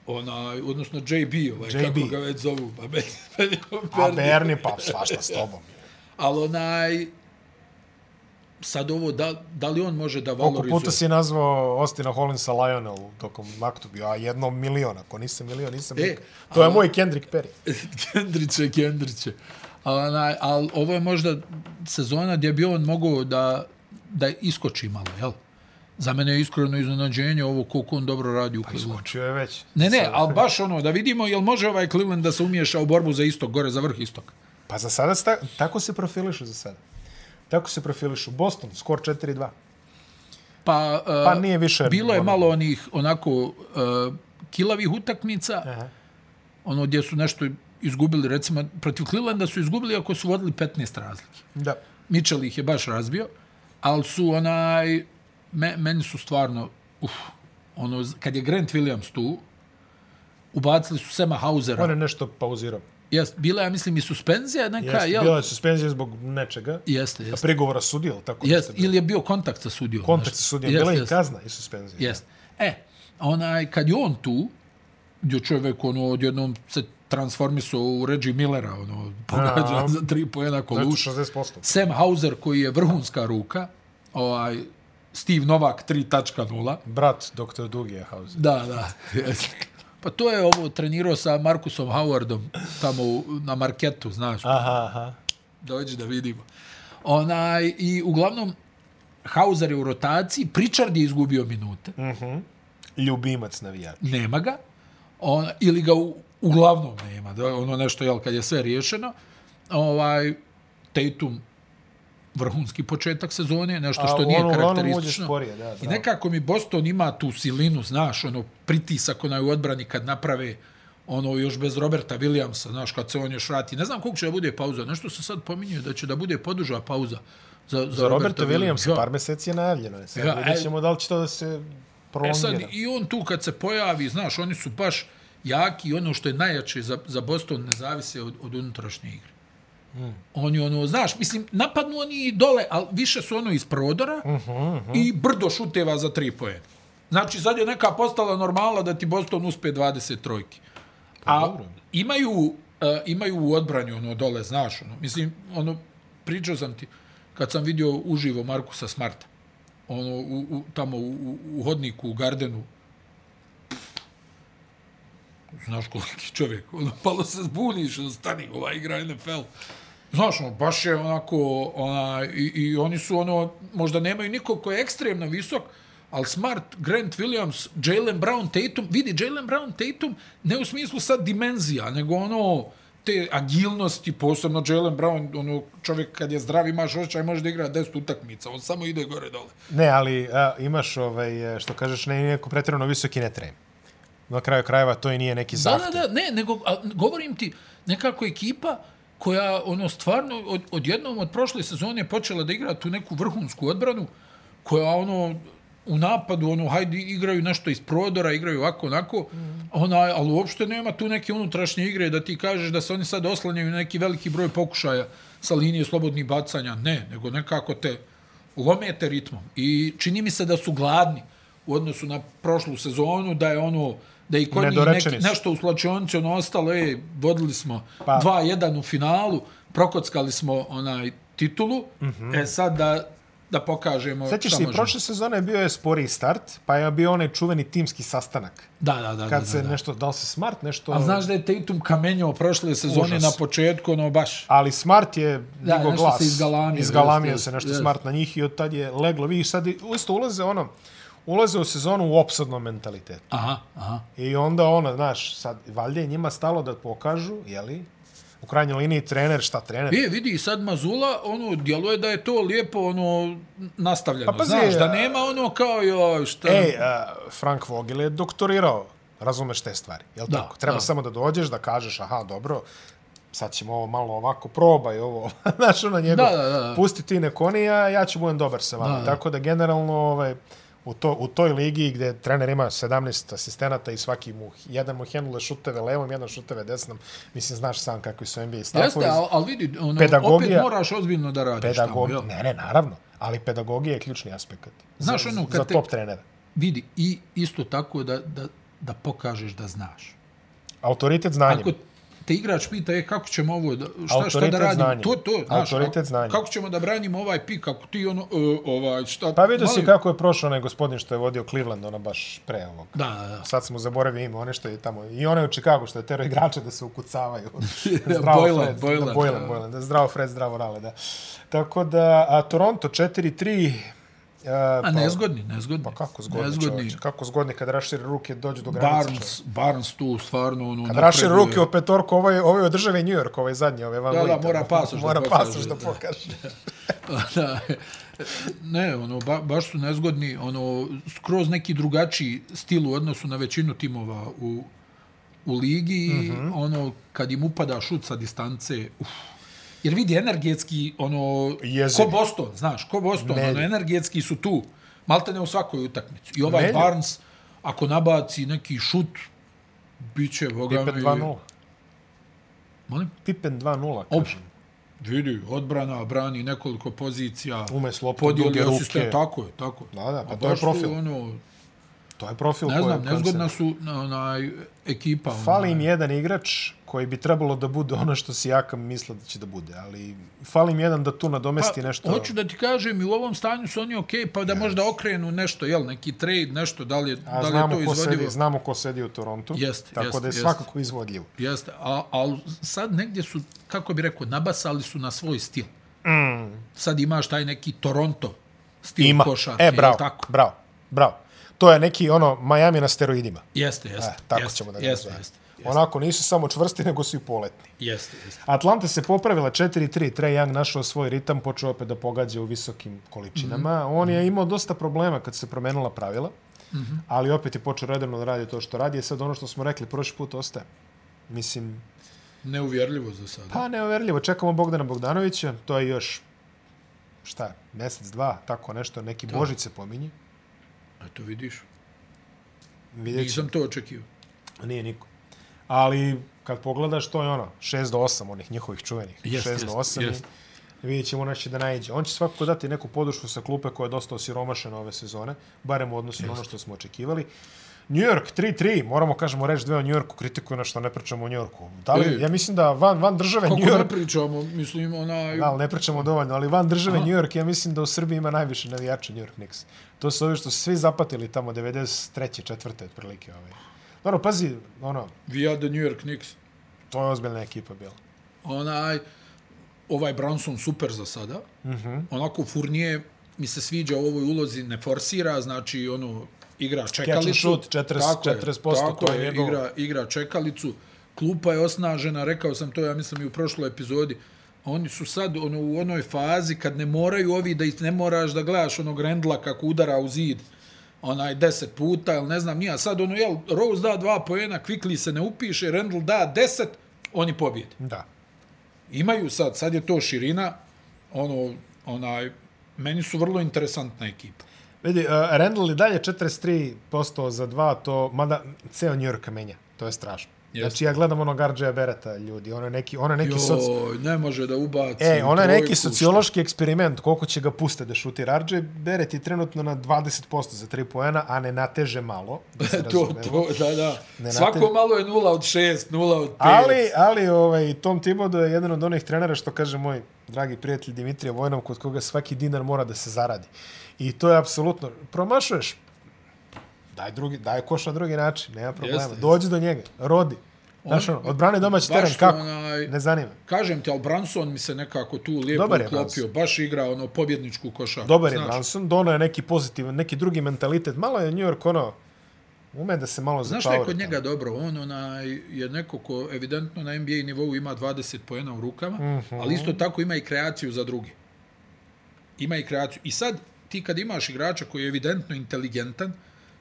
Speaker 1: Onaj, odnosno JB, ovaj,
Speaker 2: JB.
Speaker 1: kako ga već zovu. Pa meni, meni,
Speaker 2: A Berni, pa svašta s tobom.
Speaker 1: Ali onaj, sad ovo, da, da li on može da
Speaker 2: Koliko puta
Speaker 1: valorizuje?
Speaker 2: si nazvao Ostina Hollinsa Lionel tokom Maktubi, a jedno milion, ako nisam milion, nisam
Speaker 1: E,
Speaker 2: e, nikad. To je
Speaker 1: ali- E,
Speaker 2: moj Kendrick Perry.
Speaker 1: Kendriće, Kendriće. Ali onaj, al, ovo je možda sezona gdje bi on mogao da, da iskoči malo, jel? Za mene je iskreno iznenađenje ovo koliko on dobro radi u
Speaker 2: Pa
Speaker 1: Clevelandu.
Speaker 2: Skočio je već.
Speaker 1: Ne, ne, ali baš ono, da vidimo jel može ovaj Cleveland da se umiješa u borbu za istok, gore za vrh istoka.
Speaker 2: Pa za sada, sta, tako se profilišu za sada. Tako se profilišu. Boston, skor 4-2.
Speaker 1: Pa, uh,
Speaker 2: Pa nije više
Speaker 1: Bilo je
Speaker 2: ono-
Speaker 1: malo onih onako uh, kilavih utakmica,
Speaker 2: Aha.
Speaker 1: ono gdje su nešto izgubili, recimo protiv Clevelanda su izgubili ako su vodili 15 razlike.
Speaker 2: Da.
Speaker 1: Mitchell ih je baš razbio, ali su onaj, me, meni su stvarno, uf, ono, z- kad je Grant Williams tu, ubacili su Sema
Speaker 2: On
Speaker 1: Hausera.
Speaker 2: je nešto pauzirao.
Speaker 1: Jest, bila, je, ja mislim, i suspenzija neka,
Speaker 2: Jeste,
Speaker 1: jel?
Speaker 2: bila je suspenzija zbog nečega.
Speaker 1: Jeste, jeste.
Speaker 2: Prigovora sudija, ili tako?
Speaker 1: Jest,
Speaker 2: nešto bilo?
Speaker 1: ili je bio kontakt sa sudijom.
Speaker 2: Kontakt
Speaker 1: nešto.
Speaker 2: sa sudijom.
Speaker 1: Jest,
Speaker 2: Bila je i
Speaker 1: jest,
Speaker 2: kazna i suspenzija.
Speaker 1: Jest. E, onaj, kad je on tu, gdje čovjek ono, odjednom se transformisao u Reggie Millera, ono, pogađa
Speaker 2: A.
Speaker 1: za tri pojena koluša.
Speaker 2: Znači 60%.
Speaker 1: Sam Hauser koji je vrhunska ruka, ovaj, Steve Novak 3.0.
Speaker 2: Brat doktor Dugija Hauser.
Speaker 1: Da, da. jest. Pa to je ovo trenirao sa Markusom Howardom tamo u, na marketu, znaš.
Speaker 2: Aha, aha.
Speaker 1: Dođi da vidimo. Onaj, I uglavnom, Hauser je u rotaciji, Pričard je izgubio minute.
Speaker 2: Ljubimac navijača.
Speaker 1: nema ga, on, ili ga u, uglavnom nema, da, ono nešto, jel, kad je sve riješeno, ovaj, Tatum vrhunski početak sezone, nešto što
Speaker 2: A,
Speaker 1: nije
Speaker 2: ono, uglavnom
Speaker 1: karakteristično.
Speaker 2: uđe sporije, da,
Speaker 1: I
Speaker 2: bravo.
Speaker 1: nekako mi Boston ima tu silinu, znaš, ono, pritisak onaj u odbrani kad naprave ono još bez Roberta Williamsa, znaš, kad se on još vrati. Ne znam koliko će da bude pauza, nešto se sad pominje da će da bude poduža pauza za, za,
Speaker 2: Za Roberta
Speaker 1: Ja.
Speaker 2: Williamsa pa par meseci je najavljeno. je. Sad
Speaker 1: Ja,
Speaker 2: vidjet ćemo da li će to da se
Speaker 1: E
Speaker 2: prolongira.
Speaker 1: sad, i on tu kad se pojavi, znaš, oni su baš jaki i ono što je najjače za, za Boston ne zavise od, od unutrašnje igre. Mm. Oni ono, znaš, mislim, napadnu oni i dole, ali više su ono iz prodora uh -huh, uh -huh. i brdo šuteva za tri poje. Znači, sad je neka postala normala da ti Boston uspe 20 trojki. A
Speaker 2: Pa dobro.
Speaker 1: imaju, uh, imaju u odbranju ono dole, znaš, ono, mislim, ono, pričao sam ti, kad sam vidio uživo Markusa Smarta, ono, u, u, tamo u, u, u hodniku, u gardenu, znaš koliki čovjek, ono, malo se zbuniš, ono, stani, ova igra NFL. Znaš, ono, baš je onako, ona, i, i oni su, ono, možda nemaju nikog ko je ekstremno visok, ali Smart, Grant Williams, Jalen Brown, Tatum, vidi, Jalen Brown, Tatum, ne u smislu sad dimenzija, nego ono, te agilnosti, posebno Jalen Brown, ono, čovjek kad je zdrav imaš očaj, može da igra 10 utakmica, on samo ide gore-dole.
Speaker 2: Ne, ali a, imaš, ovaj, e, što kažeš, ne neko pretredno visoki ne trem. Na kraju krajeva to i nije neki
Speaker 1: Da,
Speaker 2: zahtev.
Speaker 1: da, da, ne, nego a, govorim ti, nekako ekipa koja ono stvarno od, odjednom od prošle sezone je počela da igra tu neku vrhunsku odbranu koja ono u napadu ono hajde igraju nešto iz prodora, igraju ovako onako, mm. ona ali uopšte nema tu neke unutrašnje igre da ti kažeš da se oni sad oslanjaju na neki veliki broj pokušaja sa linije slobodnih bacanja, ne, nego nekako te lomete ritmom i čini mi se da su gladni. u odnosu na prošlu sezonu, da je ono da i kod njih
Speaker 2: Nedorečeni
Speaker 1: neki,
Speaker 2: su.
Speaker 1: nešto u slačionici ono ostalo, ej, vodili smo
Speaker 2: Pa.
Speaker 1: pa. 2-1 u finalu, prokockali smo onaj titulu, mm
Speaker 2: Mhm.
Speaker 1: -hmm. e sad da, da pokažemo
Speaker 2: Sećaš
Speaker 1: šta
Speaker 2: se, i
Speaker 1: možemo.
Speaker 2: prošle sezone bio je sporiji start, pa je bio onaj čuveni timski sastanak.
Speaker 1: Da, da, da.
Speaker 2: Kad
Speaker 1: da,
Speaker 2: se
Speaker 1: da, da.
Speaker 2: nešto, da li se Smart nešto...
Speaker 1: A znaš da je Tatum kamenjao prošle sezone
Speaker 2: Užas.
Speaker 1: na početku, ono baš.
Speaker 2: Ali Smart je
Speaker 1: Da,
Speaker 2: digo
Speaker 1: nešto
Speaker 2: glas.
Speaker 1: se izgalamio,
Speaker 2: Izgalamio
Speaker 1: jeste,
Speaker 2: se nešto
Speaker 1: jeste.
Speaker 2: Smart na njih i od tad je leglo. Vidiš, sad i- isto ulaze ono, ulaze u sezonu u opsadnom mentalitetu.
Speaker 1: Aha, aha.
Speaker 2: I onda ono, znaš, sad, valjda je njima stalo da pokažu, jeli, u krajnjoj liniji trener, šta trener?
Speaker 1: E, vidi, sad Mazula, ono, djeluje da je to lijepo, ono, nastavljeno.
Speaker 2: Pa pazi,
Speaker 1: Znaš,
Speaker 2: a-
Speaker 1: da nema ono kao, joj, šta...
Speaker 2: Ej, a, E, Frank Vogel je doktorirao, razumeš te stvari, jel
Speaker 1: Da,
Speaker 2: tako? Treba
Speaker 1: da.
Speaker 2: samo da dođeš, da kažeš, aha, dobro, sad ćemo ovo malo ovako, probaj ovo, znaš, ono njegov,
Speaker 1: Da, da, da, da.
Speaker 2: pusti ti nek oni, a ja ću budem dobar sa vama.
Speaker 1: Da, da.
Speaker 2: Tako da generalno, ovaj, u, to, u toj ligi gdje trener ima 17 asistenata i svaki mu, jedan mu hendle šuteve levom, jedan šuteve desnom, mislim, znaš sam kakvi su NBA
Speaker 1: Jeste,
Speaker 2: stafovi,
Speaker 1: ali al vidi, ono,
Speaker 2: Pedagogija-
Speaker 1: opet moraš ozbiljno da radiš tamo,
Speaker 2: pedagogija,
Speaker 1: jel?
Speaker 2: ne, ne, naravno, ali pedagogija je ključni aspekt.
Speaker 1: Znaš,
Speaker 2: za,
Speaker 1: ono, kad
Speaker 2: za
Speaker 1: te-
Speaker 2: top trenera.
Speaker 1: Vidi, i isto tako da, da, da pokažeš da znaš.
Speaker 2: Autoritet znanjem.
Speaker 1: Ako te igrač pita, e, kako ćemo ovo, da, šta, šta da
Speaker 2: Autoritet
Speaker 1: radimo?
Speaker 2: znanjem.
Speaker 1: To, to, znaš,
Speaker 2: Autoritet
Speaker 1: kako-
Speaker 2: znanjem.
Speaker 1: kako ćemo da branimo ovaj pik, kako ti ono, e, ovaj, šta...
Speaker 2: Pa vidio si
Speaker 1: molim-
Speaker 2: kako je prošao onaj gospodin što je vodio Cleveland, ono baš pre ovog.
Speaker 1: Da, da, da.
Speaker 2: Sad smo zaboravili ime, one što je tamo, i one u Chicagu što je tero igrače da se ukucavaju.
Speaker 1: Boylan,
Speaker 2: Fred,
Speaker 1: Boylan,
Speaker 2: Da,
Speaker 1: da.
Speaker 2: Boylan, Boylan, da zdravo Fred, zdravo Rale, da. Tako da, a Toronto 4-3, a,
Speaker 1: A nezgodni, nezgodni.
Speaker 2: Pa kako zgodni, nezgodni.
Speaker 1: Nezgodni.
Speaker 2: Čovječe, kako zgodni kad raširi ruke dođu do granice. čovječe.
Speaker 1: Barnes, Barnes tu stvarno ono...
Speaker 2: Kad raširi
Speaker 1: napreduje.
Speaker 2: ruke o petorku, ovo je, ovo je od države New York, ovaj zadnji, ovaj Van
Speaker 1: Da, da,
Speaker 2: Vliet,
Speaker 1: mora
Speaker 2: ono.
Speaker 1: pasoš da
Speaker 2: mora
Speaker 1: pokaže,
Speaker 2: pasoš da
Speaker 1: da.
Speaker 2: pokaže.
Speaker 1: Pa da, ne, ono, ba, baš su nezgodni, ono, skroz neki drugačiji stil u odnosu na većinu timova u, u ligi, mm -hmm. ono, kad im upada šut sa distance, uf, jer vidi, energetski, ono,
Speaker 2: Jezivi.
Speaker 1: ko Boston, znaš, ko Boston,
Speaker 2: Ne.
Speaker 1: ono, energetski su tu, malte ne u svakoj utakmici. I ovaj
Speaker 2: Ne.
Speaker 1: ne. Barnes, ako nabaci neki šut, bit će, boga
Speaker 2: Pippen 2-0.
Speaker 1: Molim?
Speaker 2: Pippen 2-0,
Speaker 1: Op,
Speaker 2: kažem.
Speaker 1: vidi, odbrana, brani nekoliko pozicija,
Speaker 2: Umes loptu, duge
Speaker 1: podijeli
Speaker 2: Pa ruke.
Speaker 1: asistent, tako je, tako.
Speaker 2: Da, da, pa
Speaker 1: A
Speaker 2: to je
Speaker 1: baš su,
Speaker 2: profil.
Speaker 1: Ono,
Speaker 2: To je profil
Speaker 1: ne
Speaker 2: koji-
Speaker 1: znam,
Speaker 2: Pa kojem se-
Speaker 1: nezgodna su na, onaj, ekipa.
Speaker 2: Fali
Speaker 1: onaj.
Speaker 2: im jedan igrač koji bi trebalo da bude ono što si Jakam misle da će da bude, ali fali im jedan da tu nadomesti
Speaker 1: Pa,
Speaker 2: nešto.
Speaker 1: Hoću da ti kažem, i u ovom stanju su oni okej, okay, pa da možda okrenu nešto, jel, neki trade, nešto, da li je,
Speaker 2: A
Speaker 1: da li je
Speaker 2: znamo
Speaker 1: to
Speaker 2: ko, sedi,
Speaker 1: izvodivo.
Speaker 2: znamo ko sedi u Torontu,
Speaker 1: Jeste,
Speaker 2: tako
Speaker 1: jeste,
Speaker 2: da je
Speaker 1: jeste.
Speaker 2: svakako izvodljivo.
Speaker 1: Jeste, a, a sad negdje su, kako bi rekao, nabasali su na svoj stil.
Speaker 2: Mm,
Speaker 1: Sad imaš taj neki Toronto stil
Speaker 2: ima.
Speaker 1: košarke,
Speaker 2: e,
Speaker 1: jel
Speaker 2: bravo,
Speaker 1: tako?
Speaker 2: bravo, bravo. To je neki ono Miami na steroidima.
Speaker 1: Jeste, jeste.
Speaker 2: E, tako
Speaker 1: jeste,
Speaker 2: ćemo da ga
Speaker 1: jeste,
Speaker 2: nazovemo.
Speaker 1: jeste,
Speaker 2: Onako, nisu samo čvrsti, nego su i poletni.
Speaker 1: jeste, jeste.
Speaker 2: Atlanta se popravila 4-3, Trae Young našao svoj ritam, počeo opet da pogađa u visokim količinama. Mm
Speaker 1: Mhm.
Speaker 2: -hmm. On je imao dosta problema kad su se promenila pravila, mm
Speaker 1: Mhm.
Speaker 2: -hmm. ali opet je počeo redovno da radi to što radi. E sad ono što smo rekli, prošli put ostaje. Mislim,
Speaker 1: Neuvjerljivo za sada.
Speaker 2: pa neoverljivo, čekamo Bogdana Bogdanovića, to je još, šta, mesec, dva, tako nešto, neki Božić se pominje.
Speaker 1: A to vidiš.
Speaker 2: Vidjet ćemo.
Speaker 1: Nisam to očekivao.
Speaker 2: Nije niko. Ali kad pogledaš, to je ono, 6 do 8 onih njihovih čuvenih.
Speaker 1: Jest,
Speaker 2: 6 do
Speaker 1: jest,
Speaker 2: 8
Speaker 1: jest.
Speaker 2: i vidjet ćemo ono će da najđe. On će svakako dati neku podušku sa klupe koja je dosta osiromašena ove sezone, barem u odnosu na ono što smo očekivali. New York 3-3, moramo kažemo reći dve o New Yorku, kritikuju nas što ne pričamo o New Yorku. Da li,
Speaker 1: E.
Speaker 2: ja mislim da van, van države
Speaker 1: Kako
Speaker 2: Pa New
Speaker 1: ne
Speaker 2: York,
Speaker 1: pričamo, mislim, onaj...
Speaker 2: da, ali ne pričamo dovoljno, ali van države
Speaker 1: Aha.
Speaker 2: New York, ja mislim da u Srbiji ima najviše navijača New York Knicks. To su ovi što su svi zapatili tamo 93. četvrte otprilike. Ovaj. Dobro, pazi, ono,
Speaker 1: Via the New York Knicks.
Speaker 2: To je ozbiljna ekipa bila.
Speaker 1: Onaj, ovaj Branson super za sada. Mm
Speaker 2: Mhm.
Speaker 1: -hmm. Onako, Furnije mi se sviđa u ovoj ulozi, ne forsira, znači, ono, igra čekalicu.
Speaker 2: shoot, 40
Speaker 1: Tako je,
Speaker 2: 40%,
Speaker 1: tako
Speaker 2: to je
Speaker 1: je,
Speaker 2: njegovo.
Speaker 1: igra, igra čekalicu. Klupa je osnažena, rekao sam to, ja mislim, i u prošloj epizodi. Oni su sad ono, u onoj fazi kad ne moraju ovi da ih ne moraš da gledaš onog rendla kako udara u zid onaj 10 puta, ili ne znam nija. Sad ono, jel, Rose da dva pojena, Quickly se ne upiše, Rendl da 10, oni pobjede
Speaker 2: Da.
Speaker 1: imaju sad, sad je to širina, ono, onaj, meni su vrlo interesantna ekipa.
Speaker 2: Vidi, uh, Randall i dalje 43% za dva, to, mada ceo New Yorka menja. To je strašno.
Speaker 1: Jeste.
Speaker 2: Znači ja gledam onog Arđeja Bereta, ljudi, ono je neki, ono je neki soc...
Speaker 1: Joj, ne može da ubaci.
Speaker 2: E, ono je neki
Speaker 1: trojku,
Speaker 2: sociološki eksperiment, koliko će ga pustiti da šutira. Arđe Beret je trenutno na 20% za 3 poena, a ne nateže malo. Da se
Speaker 1: šta- To,
Speaker 2: razumemo.
Speaker 1: to, da, da.
Speaker 2: Ne
Speaker 1: Svako
Speaker 2: nate-
Speaker 1: malo je nula od šest, nula od pet.
Speaker 2: Ali, ali ovaj, Tom Thibodeau je jedan od onih trenera što kaže moj dragi prijatelj Dimitrije Vojnov, kod koga svaki dinar mora da se zaradi. I to je apsolutno, promašuješ, daj, drugi, daj koš na drugi način, nema problema.
Speaker 1: Jeste,
Speaker 2: Jeste,
Speaker 1: jeste.
Speaker 2: Dođi do njega, rodi. Znaš
Speaker 1: On-
Speaker 2: ono, odbrani domać
Speaker 1: baš
Speaker 2: teren, kako?
Speaker 1: onaj-
Speaker 2: Ne zanima.
Speaker 1: Kažem ti, ali Branson mi se nekako tu lijepo
Speaker 2: Dobar je
Speaker 1: uklopio. Baš igra ono pobjedničku košarku.
Speaker 2: Dobar je
Speaker 1: znaš.
Speaker 2: Branson, dono je neki pozitivan, neki drugi mentalitet. Malo je New York ono, ume da se malo
Speaker 1: Znaš šta
Speaker 2: zapavori.
Speaker 1: je kod njega dobro? On onaj, je neko ko evidentno na NBA nivou ima 20 poena u rukama, ali isto tako ima i kreaciju za druge. Ima i kreaciju. I sad ti kad imaš igrača koji je evidentno inteligentan,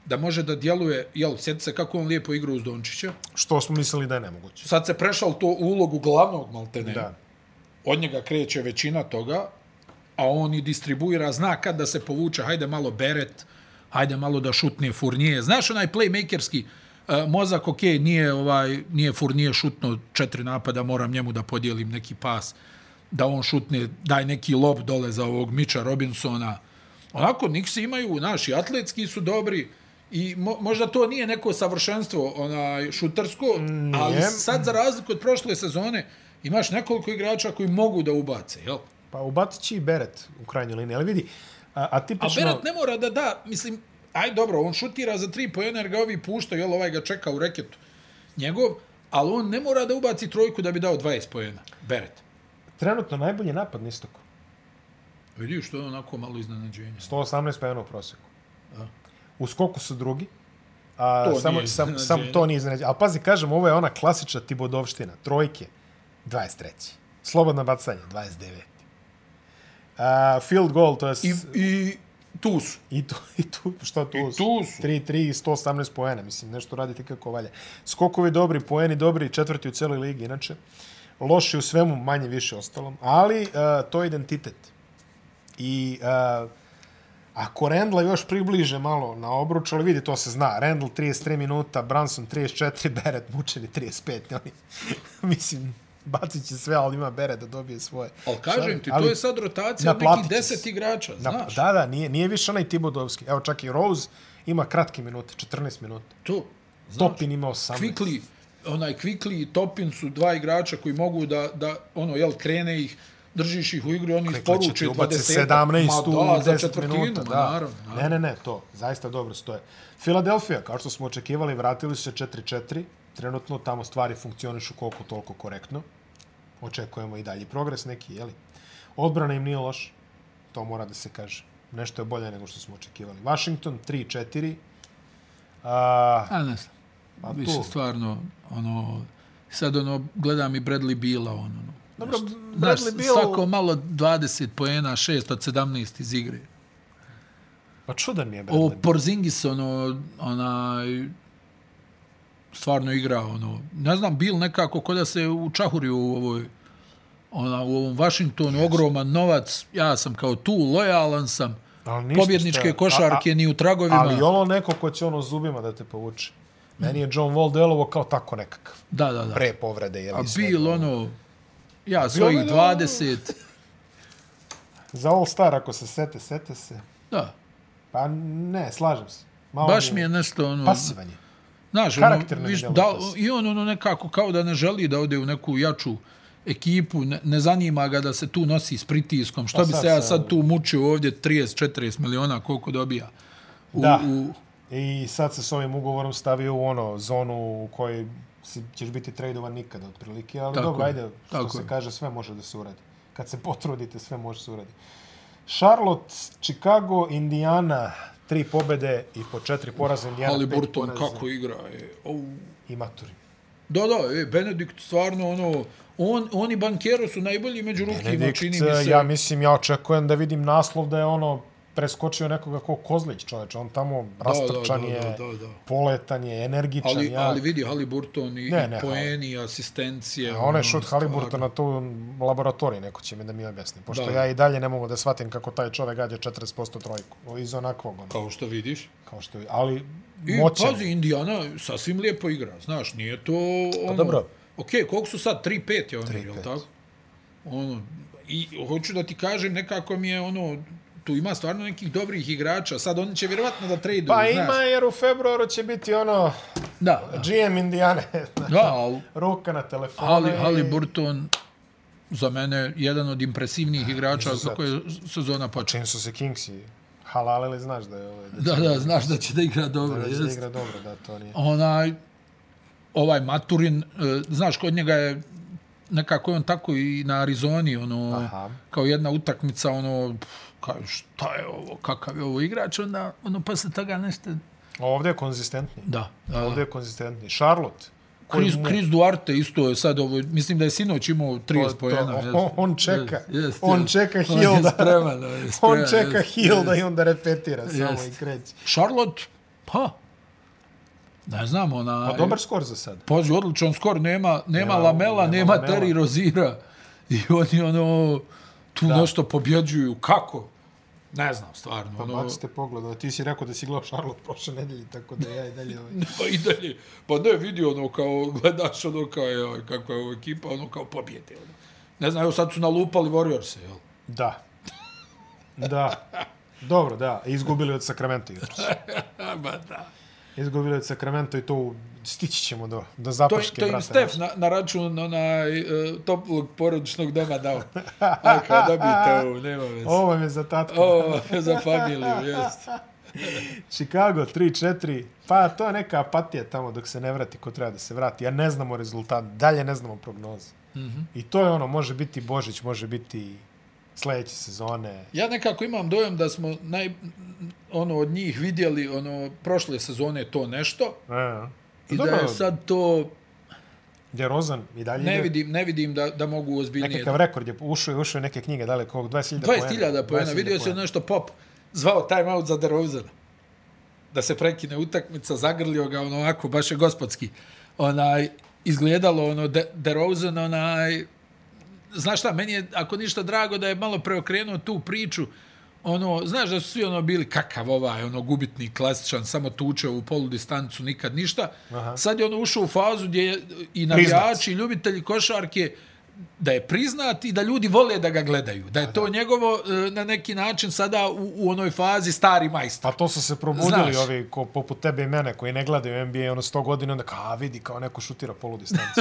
Speaker 1: da može da djeluje, jel, sjeti se kako on lijepo igra uz Dončića,
Speaker 2: Što smo mislili da je nemoguće.
Speaker 1: sad se prešao to u ulogu glavnog maltene.
Speaker 2: Da.
Speaker 1: Od njega kreće većina toga, a on i distribuira, zna kad da se povuče, hajde malo Beret, hajde malo da šutne Furnije. Znaš onaj playmakerski e, mozak, ok, nije, ovaj, nije Furnije šutno četiri napada, moram njemu da podijelim neki pas, da on šutne, daj neki lob dole za ovog Miča Robinsona. Onako, Nixi imaju, naši atletski su dobri, I mo, možda to nije neko savršenstvo onaj šutarsko, ali
Speaker 2: Nije.
Speaker 1: sad za razliku od prošle sezone imaš nekoliko igrača koji mogu da ubace, jel?
Speaker 2: Pa ubatit će i Beret u krajnjoj liniji, ali vidi, a, a
Speaker 1: A
Speaker 2: tipično...
Speaker 1: Berat ne mora da da, mislim, aj dobro, on šutira za tri pojena jer ga ovi puštaju, jel ovaj ga čeka u reketu njegov, ali on ne mora da ubaci trojku da bi dao 20 pojena. Beret.
Speaker 2: Trenutno najbolji napad na istoku.
Speaker 1: Vidi što je onako malo iznenađenje.
Speaker 2: 118 pojena u prosjeku.
Speaker 1: Da.
Speaker 2: U skoku su drugi. A,
Speaker 1: To
Speaker 2: to samo,
Speaker 1: nije
Speaker 2: sam, sam
Speaker 1: iznenađenje.
Speaker 2: to nije iznenađenje. Ali pazi, kažem, ovo je ona klasična Tibodovština. Trojke, 23. Slobodna bacanja, 29. A, field goal, to je...
Speaker 1: I,
Speaker 2: I,
Speaker 1: i tu su.
Speaker 2: i, tu, i tu, što tu?
Speaker 1: I tu su.
Speaker 2: 3-3 i 118 poena, mislim, nešto radite kako valja. Skokovi dobri, poeni dobri, četvrti u celoj ligi, inače. Loši u svemu, manje više ostalom, ali uh, to je identitet. I uh, ako Rendla još približe malo na obruč, ali vidi, to se zna. Rendl 33 minuta, Branson 34, Beret mučeni 35. Oni, mislim, bacit će sve, ali ima Beret da dobije svoje.
Speaker 1: Ali kažem ti,
Speaker 2: Ali-
Speaker 1: to je sad rotacija od
Speaker 2: naplatit
Speaker 1: nekih
Speaker 2: će se.
Speaker 1: 10 igrača,
Speaker 2: Na,
Speaker 1: znaš.
Speaker 2: da, da, nije, nije više onaj Tibodovski. Evo, čak i Rose ima kratke minute, 14 minuta.
Speaker 1: To. Znaš.
Speaker 2: Topin ima 18.
Speaker 1: Quickly, onaj Quickly i Topin su dva igrača koji mogu da, da ono, jel, krene ih, držiš ih u igri, oni
Speaker 2: Quickly će
Speaker 1: isporuče
Speaker 2: ti ubaci
Speaker 1: 20.
Speaker 2: 17
Speaker 1: Ma
Speaker 2: u
Speaker 1: da, za
Speaker 2: 10
Speaker 1: četvrtinu,
Speaker 2: minuta.
Speaker 1: ma
Speaker 2: Da.
Speaker 1: naravno, naravno.
Speaker 2: Ne, ne, ne, to. Zaista dobro stoje. Filadelfija, kao što smo očekivali, vratili su se 4-4. Trenutno tamo stvari funkcionišu koliko toliko korektno. Očekujemo i dalji progres neki, jeli? Odbrana im nije loša. To mora da se kaže. Nešto je bolje nego što smo očekivali. Washington 3-4. A,
Speaker 1: A ne znam.
Speaker 2: Pa
Speaker 1: Više
Speaker 2: to.
Speaker 1: stvarno, ono, sad ono, gledam i Bradley Bila, ono, ono.
Speaker 2: Dobro,
Speaker 1: Znaš,
Speaker 2: Bradley Beal...
Speaker 1: svako malo 20 poena, 6 od 17 iz igre.
Speaker 2: Pa čudan mi je Bradley
Speaker 1: Ovo
Speaker 2: Beal.
Speaker 1: Porzingis, ono, onaj, stvarno igra, ono, ne znam, bil nekako ko da se učahurio u ovoj, ona, u ovom Washingtonu, ogroman novac, ja sam kao tu, lojalan sam,
Speaker 2: Ali ništa šta
Speaker 1: pobjedničke
Speaker 2: je.
Speaker 1: košarke ni u tragovima,
Speaker 2: Ali ono neko ko će ono zubima da te povuče. Meni je John Wall delovo kao tako nekakav.
Speaker 1: da, da, da,
Speaker 2: Pre povrede. Je
Speaker 1: a bil, ono, ja
Speaker 2: je
Speaker 1: svojih
Speaker 2: ono-
Speaker 1: 20,
Speaker 2: Za All Star ako se sete, sete se.
Speaker 1: da,
Speaker 2: Pa ne, slažem se. Malo
Speaker 1: baš mi je nešto, ono,
Speaker 2: Pasivan je.
Speaker 1: Znaš,
Speaker 2: Karakterno
Speaker 1: ono,
Speaker 2: mi
Speaker 1: viš,
Speaker 2: djeluje
Speaker 1: da,
Speaker 2: to sve.
Speaker 1: i on ono nekako kao da ne želi da ode u neku jaču ekipu, ne, ne zanima ga da se tu nosi s pritiskom, što
Speaker 2: Pa
Speaker 1: bi
Speaker 2: sad
Speaker 1: se ja
Speaker 2: se-
Speaker 1: sad tu mučio ovdje 30-40 miliona koliko dobija. U,
Speaker 2: Da.
Speaker 1: U,
Speaker 2: I sad se s ovim ugovorom stavio u ono zonu u kojoj si, ćeš biti tradovan nikada otprilike, ali
Speaker 1: Tako
Speaker 2: dobro,
Speaker 1: je,
Speaker 2: ajde, što
Speaker 1: tako
Speaker 2: se
Speaker 1: je.
Speaker 2: kaže, sve može da se uradi. Kad se potrudite, sve može da se uradi. Charlotte, Chicago, Indiana, tri pobede i po četiri poraza Indiana.
Speaker 1: ali
Speaker 2: pet
Speaker 1: Burton
Speaker 2: poraza
Speaker 1: kako igra. Je. Au.
Speaker 2: I maturi.
Speaker 1: Da, da, e, Benedikt stvarno ono, on, oni bankero su najbolji među rukima,
Speaker 2: Benedikt, e,
Speaker 1: čini mi se.
Speaker 2: ja mislim, ja očekujem da vidim naslov da je ono preskočio nekoga ko Kozlić, čoveč. On tamo
Speaker 1: da,
Speaker 2: rastrčan
Speaker 1: da,
Speaker 2: je,
Speaker 1: da, da, da.
Speaker 2: poletan je, energičan.
Speaker 1: Ali,
Speaker 2: ja.
Speaker 1: ali vidi Haliburton i,
Speaker 2: Ne,
Speaker 1: ne,
Speaker 2: ne,
Speaker 1: ne, poeni, asistencije.
Speaker 2: A Pa onaj
Speaker 1: ono,
Speaker 2: šut
Speaker 1: stvarno.
Speaker 2: Haliburta na tu laboratoriji, neko će mi da mi objasni. Pošto
Speaker 1: Da.
Speaker 2: ja i dalje ne mogu da shvatim kako taj čovek gađa 40% trojku. O, Iz onakvog, ono,
Speaker 1: Kao što vidiš.
Speaker 2: kao što je. Ali
Speaker 1: I
Speaker 2: moćan.
Speaker 1: pazi, Indiana sasvim lijepo igra, znaš, nije to ono...
Speaker 2: Pa dobro.
Speaker 1: Ok, koliko su sad? 3-5 je ono, jel
Speaker 2: 3-5.
Speaker 1: tako? Ono, I hoću da ti kažem, nekako mi je ono, tu ima stvarno nekih dobrih igrača, sad oni će vjerovatno da traduju,
Speaker 2: Pa
Speaker 1: znaš.
Speaker 2: ima, jer u februaru će biti ono
Speaker 1: Da, da.
Speaker 2: GM Indijane.
Speaker 1: da ali,
Speaker 2: Ruka na telefonu.
Speaker 1: ali,
Speaker 2: i-
Speaker 1: ali Burton za mene jedan od impresivnijih igrača za koje sezona počne.
Speaker 2: Čim su se Kingsi halalili, znaš da je ovaj, da,
Speaker 1: Da, da, znaš da će da igra dobro,
Speaker 2: da, će da
Speaker 1: jest.
Speaker 2: igra dobro, da to nije.
Speaker 1: onaj ovaj Maturin, e, znaš, kod njega je nekako je on tako i na Arizoni, ono,
Speaker 2: Aha.
Speaker 1: kao jedna utakmica, ono, pf, kao šta je ovo, kakav je ovo igrač, onda, ono, posle toga nešto,
Speaker 2: Ovdje je konzistentni.
Speaker 1: da.
Speaker 2: Ovdje je konzistentni. Charlotte. koji
Speaker 1: Chris,
Speaker 2: mu- Pa
Speaker 1: Chris Duarte isto je sad ovo, mislim da je sinoć imao 30
Speaker 2: to-
Speaker 1: pojena.
Speaker 2: on-
Speaker 1: jest.
Speaker 2: on čeka.
Speaker 1: Jest,
Speaker 2: On
Speaker 1: jest.
Speaker 2: čeka
Speaker 1: On je
Speaker 2: Hilda.
Speaker 1: spreman, on je
Speaker 2: On
Speaker 1: spreman,
Speaker 2: čeka
Speaker 1: jest,
Speaker 2: Hilda i onda repetira samo i
Speaker 1: Jest.
Speaker 2: kreće.
Speaker 1: Charlotte, pa, ne znam, ona...
Speaker 2: Pa dobar skor za sad.
Speaker 1: Pazi, odličan skor, nema, nema
Speaker 2: Nema-
Speaker 1: Lamela,
Speaker 2: nema
Speaker 1: nema,
Speaker 2: Lamela.
Speaker 1: Terry Rozira. I oni ono, tu da. nešto pobjeđuju. Kako? Ne znam, stvarno.
Speaker 2: Pa
Speaker 1: ono,
Speaker 2: Max te pogledao, ti si rekao da si gledao Charlotte prošle nedelje, tako da ja i dalje ovaj...
Speaker 1: pa i dalje, pa ne vidi ono kao, gledaš ono kao, je, kako je ovo ekipa, ono kao pobjede. Ono. Ne znam, evo sad su nalupali Warriors-e, jel?
Speaker 2: Da. Da. Dobro, da. Izgubili od Sacramento jutros.
Speaker 1: A, ba da.
Speaker 2: Izgubili od Sacramento i to u- stići ćemo do, do
Speaker 1: To,
Speaker 2: zapaške,
Speaker 1: to im
Speaker 2: brate.
Speaker 1: Stef na, na račun onaj, e, toplog porodičnog doma dao. A kao, dobijte ovo, nema veze.
Speaker 2: Ovo vam je za tatka.
Speaker 1: Ovo je za familiju, jest.
Speaker 2: Chicago 3-4, pa to je neka apatija tamo dok se ne vrati ko treba da se vrati. Ja ne znamo rezultat, dalje ne znamo prognoze. Mm
Speaker 1: Mhm.
Speaker 2: -hmm. I to je ono, može biti Božić, može biti sledeće sezone.
Speaker 1: Ja nekako imam dojam da smo naj, ono od njih vidjeli ono prošle sezone to nešto
Speaker 2: E,
Speaker 1: i da je sad to
Speaker 2: Gdje Rozan i dalje
Speaker 1: ne
Speaker 2: ide.
Speaker 1: vidim ne vidim da da mogu ozbiljnije.
Speaker 2: Nekakav rekord je ušao, je ušao je neke knjige, daleko kog, 20.000 poena.
Speaker 1: 20.000 poena, vidio se nešto pop zvao time out za DeRozana. Da se prekine utakmica, zagrlio ga ono onako baš je gospodski. Onaj izgledalo ono De- DeRozan onaj znaš šta, meni je, ako ništa drago, da je malo preokrenuo tu priču, ono, znaš da su svi ono bili kakav ovaj, ono, gubitni, klasičan, samo tuče u polu distancu, nikad ništa.
Speaker 2: Aha.
Speaker 1: Aha. Sad je ono ušao u fazu gdje je i
Speaker 2: Priznat.
Speaker 1: navijači, i Znači, ljubitelji košarke, da je priznat i da ljudi vole da ga gledaju.
Speaker 2: Pa
Speaker 1: Da je to njegovo, e, na neki način, sada u, u onoj fazi stari majstor.
Speaker 2: Pa to su se probudili
Speaker 1: Znaš.
Speaker 2: ovi ko, poput tebe i mene koji ne gledaju NBA ono 100 godina onda kao, a vidi kao neko šutira polu distancu.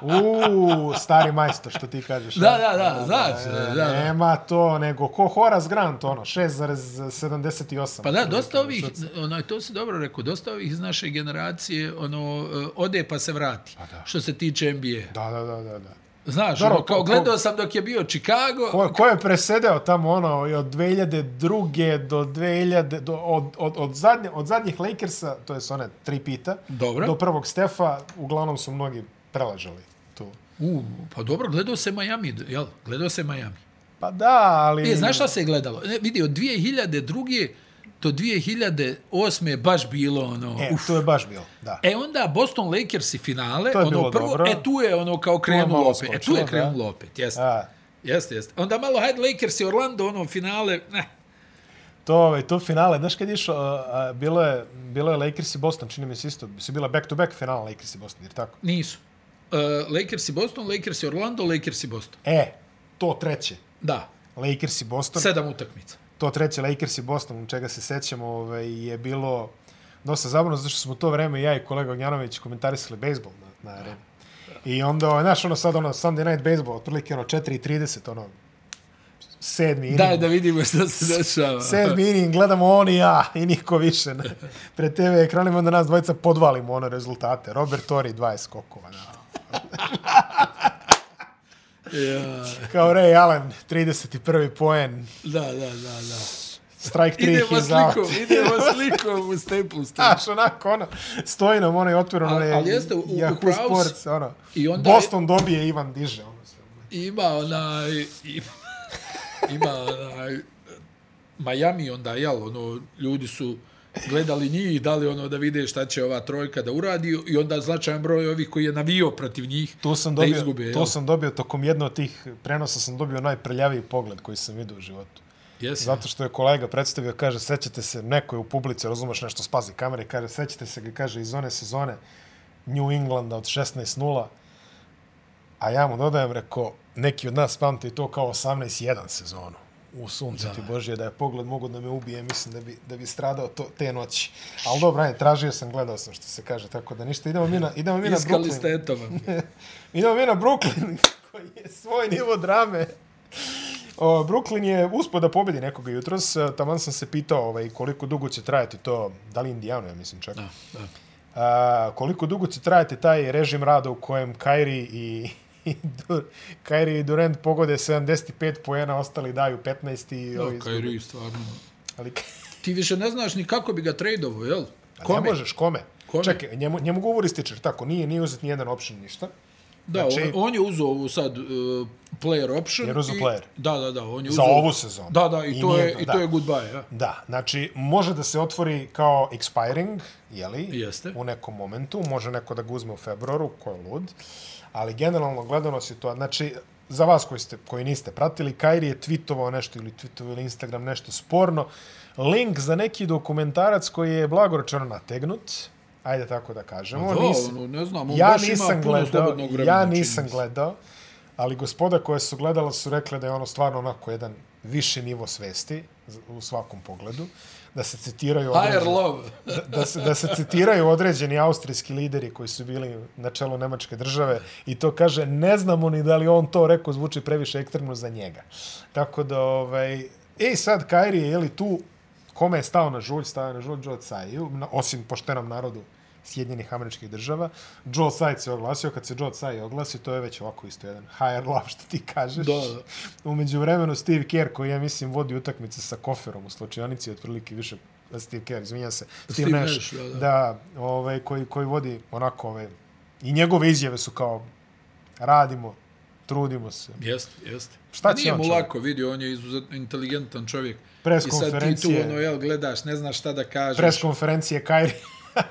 Speaker 2: Uuu, stari majstor što ti kažeš.
Speaker 1: Da,
Speaker 2: a?
Speaker 1: da, da, znaš, da, da.
Speaker 2: Nema to, nego ko Horace Grant, ono, 6,78.
Speaker 1: Pa da, dosta
Speaker 2: Otprilike,
Speaker 1: ovih,
Speaker 2: šut.
Speaker 1: ono, to si dobro rekao, dosta ovih iz naše generacije, ono, e, ode pa se vrati,
Speaker 2: da.
Speaker 1: što se tiče NBA.
Speaker 2: Da, da, da, da. da.
Speaker 1: Znaš,
Speaker 2: Dobro,
Speaker 1: Dobro, ono, kao
Speaker 2: ko- ko-
Speaker 1: gledao sam dok je bio Chicago,
Speaker 2: Ko, ko je presedeo tamo ono i od 2002. do 2000 do, od, od, od, zadnje, od zadnjih Lakersa, to je one tri pita,
Speaker 1: Dobro.
Speaker 2: do prvog Stefa, uglavnom su mnogi prelažali tu.
Speaker 1: U, pa dobro, gledao se Miami, jel? Gledao se Miami.
Speaker 2: Pa da, ali...
Speaker 1: E, znaš šta se je gledalo? E, vidi, od 2002. do 2008. je baš bilo ono...
Speaker 2: E,
Speaker 1: uf.
Speaker 2: to je baš bilo, da.
Speaker 1: E onda Boston Lakers i finale,
Speaker 2: To je bilo
Speaker 1: ono prvo,
Speaker 2: dobro.
Speaker 1: e tu je ono kao
Speaker 2: malo
Speaker 1: krenulo opet. E tu
Speaker 2: skočilo,
Speaker 1: je
Speaker 2: da.
Speaker 1: krenulo opet, jeste.
Speaker 2: A,
Speaker 1: Jeste, jeste. Onda malo, hajde Lakers i Orlando, ono finale, ne.
Speaker 2: to, ovaj, to finale, znaš kad je išao, a, a, bilo je, bilo je Lakers i Boston, čini mi se isto, su bila back-to-back finala Lakers i Boston, jer tako?
Speaker 1: Nisu. Uh, Lakers i Boston, Lakers i Orlando, Lakers i Boston.
Speaker 2: E, to treće,
Speaker 1: Da,
Speaker 2: Lakers i Boston,
Speaker 1: sedam utakmica.
Speaker 2: to treće Lakers i Boston, čega se sećamo, ovaj, je bilo dosta zabavno, zato što smo u to vreme ja i kolega Ognjanović komentarisali bejsbol na, na areni. I onda, ovaj, znaš, ono sad, ono, Sunday Night Baseball, otprilike, ono, 4.30, ono, sedmi inning.
Speaker 1: Daj da vidimo šta se dešava.
Speaker 2: Sedmi inning, gledamo on i ja i niko više. Ne. Pre TV ekranima onda nas dvojica podvalimo ono rezultate. Robert Torrey 20 skokova. Da.
Speaker 1: Ja.
Speaker 2: Kao Ray Allen, 31. poen,
Speaker 1: Da, da, da, da.
Speaker 2: strike 3
Speaker 1: Idemo
Speaker 2: he's out.
Speaker 1: slikom, idemo slikom u Staples Center.
Speaker 2: Znaš, onako, ono, stoji nam onaj otvoren,
Speaker 1: Ali-
Speaker 2: onaj
Speaker 1: ali jeste, u- u
Speaker 2: Yahoo
Speaker 1: pravu si.
Speaker 2: Sports, ono.
Speaker 1: I onda je-
Speaker 2: Boston dobije, Ivan diže. Ono, sve.
Speaker 1: Ima onaj... Ima, ima onaj... Miami onda, jel, ono, ljudi su gledali njih, dali ono da vide šta će ova trojka da uradi i onda značajan broj ovih koji je navio protiv njih
Speaker 2: To sam
Speaker 1: da
Speaker 2: dobio,
Speaker 1: izgube.
Speaker 2: to
Speaker 1: jel?
Speaker 2: sam dobio tokom jednog od tih prenosa sam dobio najprljaviji pogled koji sam vidio u životu.
Speaker 1: Jesi.
Speaker 2: Zato što je kolega predstavio, kaže, sećate se, neko je u publici, razumeš nešto, spazi kamere, kaže, sećate se, ga, kaže, iz one sezone New Englanda od 16-0, a ja mu dodajem, rekao, neki od nas pamte i to kao 18-1 sezonu. U sunce ti Božje, da je pogled mogu da me ubije, mislim da bi, da bi stradao to, te noći. Ali dobro, ajde, tražio sam, gledao sam što se kaže, tako da ništa. Idemo mi na, idemo mi na
Speaker 1: Iskali
Speaker 2: Brooklyn.
Speaker 1: ste etovan.
Speaker 2: Idemo mi na Brooklyn, koji je svoj nivo drame. O, Brooklyn je uspio da pobedi nekoga jutros. E, Taman sam se pitao ovaj, koliko dugo će trajati to, da li Indijano, ja mislim čak.
Speaker 1: Da, da.
Speaker 2: A, koliko dugo će trajati taj režim rada u kojem Kairi i, i Dur, Kairi i Durant pogode 75 poena, ostali daju 15 i ovi
Speaker 1: Da,
Speaker 2: izgube.
Speaker 1: Kairi, stvarno.
Speaker 2: Ali,
Speaker 1: Ti više ne znaš ni kako bi ga tradeovo, jel?
Speaker 2: kome? Ne možeš, kome?
Speaker 1: Kome?
Speaker 2: Čekaj, njemu, njemu govori stičer, tako, nije, nije uzet nijedan option, ništa.
Speaker 1: Da,
Speaker 2: Znači-
Speaker 1: on, on je uzeo ovu sad uh, player option.
Speaker 2: Jer uzeo
Speaker 1: i-
Speaker 2: player.
Speaker 1: Da, da, da. On je
Speaker 2: Za
Speaker 1: uzeo-
Speaker 2: ovu sezonu.
Speaker 1: Da, da, i, to, je,
Speaker 2: nijedno,
Speaker 1: i to je goodbye. Ja.
Speaker 2: Da, znači može da se otvori kao expiring, jeli?
Speaker 1: Jeste.
Speaker 2: U nekom momentu, može neko da ga uzme u februaru, ko je lud. Ali generalno gledano si to, znači za vas koji, ste, koji niste pratili, Kairi je tweetovao nešto ili tweetovao ili Instagram nešto sporno. Link za neki dokumentarac koji je blago rečeno nategnut, ajde tako da kažemo.
Speaker 1: Da,
Speaker 2: Nis-
Speaker 1: ono, ne znam, on
Speaker 2: ja
Speaker 1: baš
Speaker 2: nisam
Speaker 1: ima puno
Speaker 2: gledao,
Speaker 1: slobodnog vremena.
Speaker 2: ja
Speaker 1: čini mi
Speaker 2: nisam
Speaker 1: se.
Speaker 2: gledao, ali gospoda koje su gledala su rekle da je ono stvarno onako jedan viši nivo svesti z- u svakom pogledu, da se citiraju
Speaker 1: Higher
Speaker 2: određeni,
Speaker 1: love.
Speaker 2: da, da, se, da se citiraju određeni austrijski lideri koji su bili na čelu Nemačke države i to kaže ne znamo ni da li on to rekao zvuči previše ekstremno za njega. Tako da ovaj e sad Kairi je je li tu kome je stao na žulj, stao je na žulj Joe Tsaju, na- osim poštenom narodu Sjedinjenih američkih država. Joe Tsai se oglasio, kad se Joe Tsai oglasi, to je već ovako isto jedan higher love što ti kažeš.
Speaker 1: Da, da.
Speaker 2: Umeđu vremenu Steve Kerr koji ja mislim vodi utakmice sa koferom u slučionici otprilike više Steve Kerr, izvinjam se, Steve,
Speaker 1: Steve
Speaker 2: Nash,
Speaker 1: Nash, da, da.
Speaker 2: da ovaj, koji, koji vodi onako ove, i njegove izjave su kao radimo, trudimo se.
Speaker 1: Jeste, jeste.
Speaker 2: Šta
Speaker 1: Pa
Speaker 2: će
Speaker 1: Nije
Speaker 2: on
Speaker 1: mu
Speaker 2: čovjek?
Speaker 1: lako, vidi, on je izuzetno inteligentan čovjek.
Speaker 2: Pres
Speaker 1: I sad ti tu
Speaker 2: konferencije.
Speaker 1: ono, jel, gledaš, ne znaš šta da kažeš.
Speaker 2: Pres konferencije Kairi.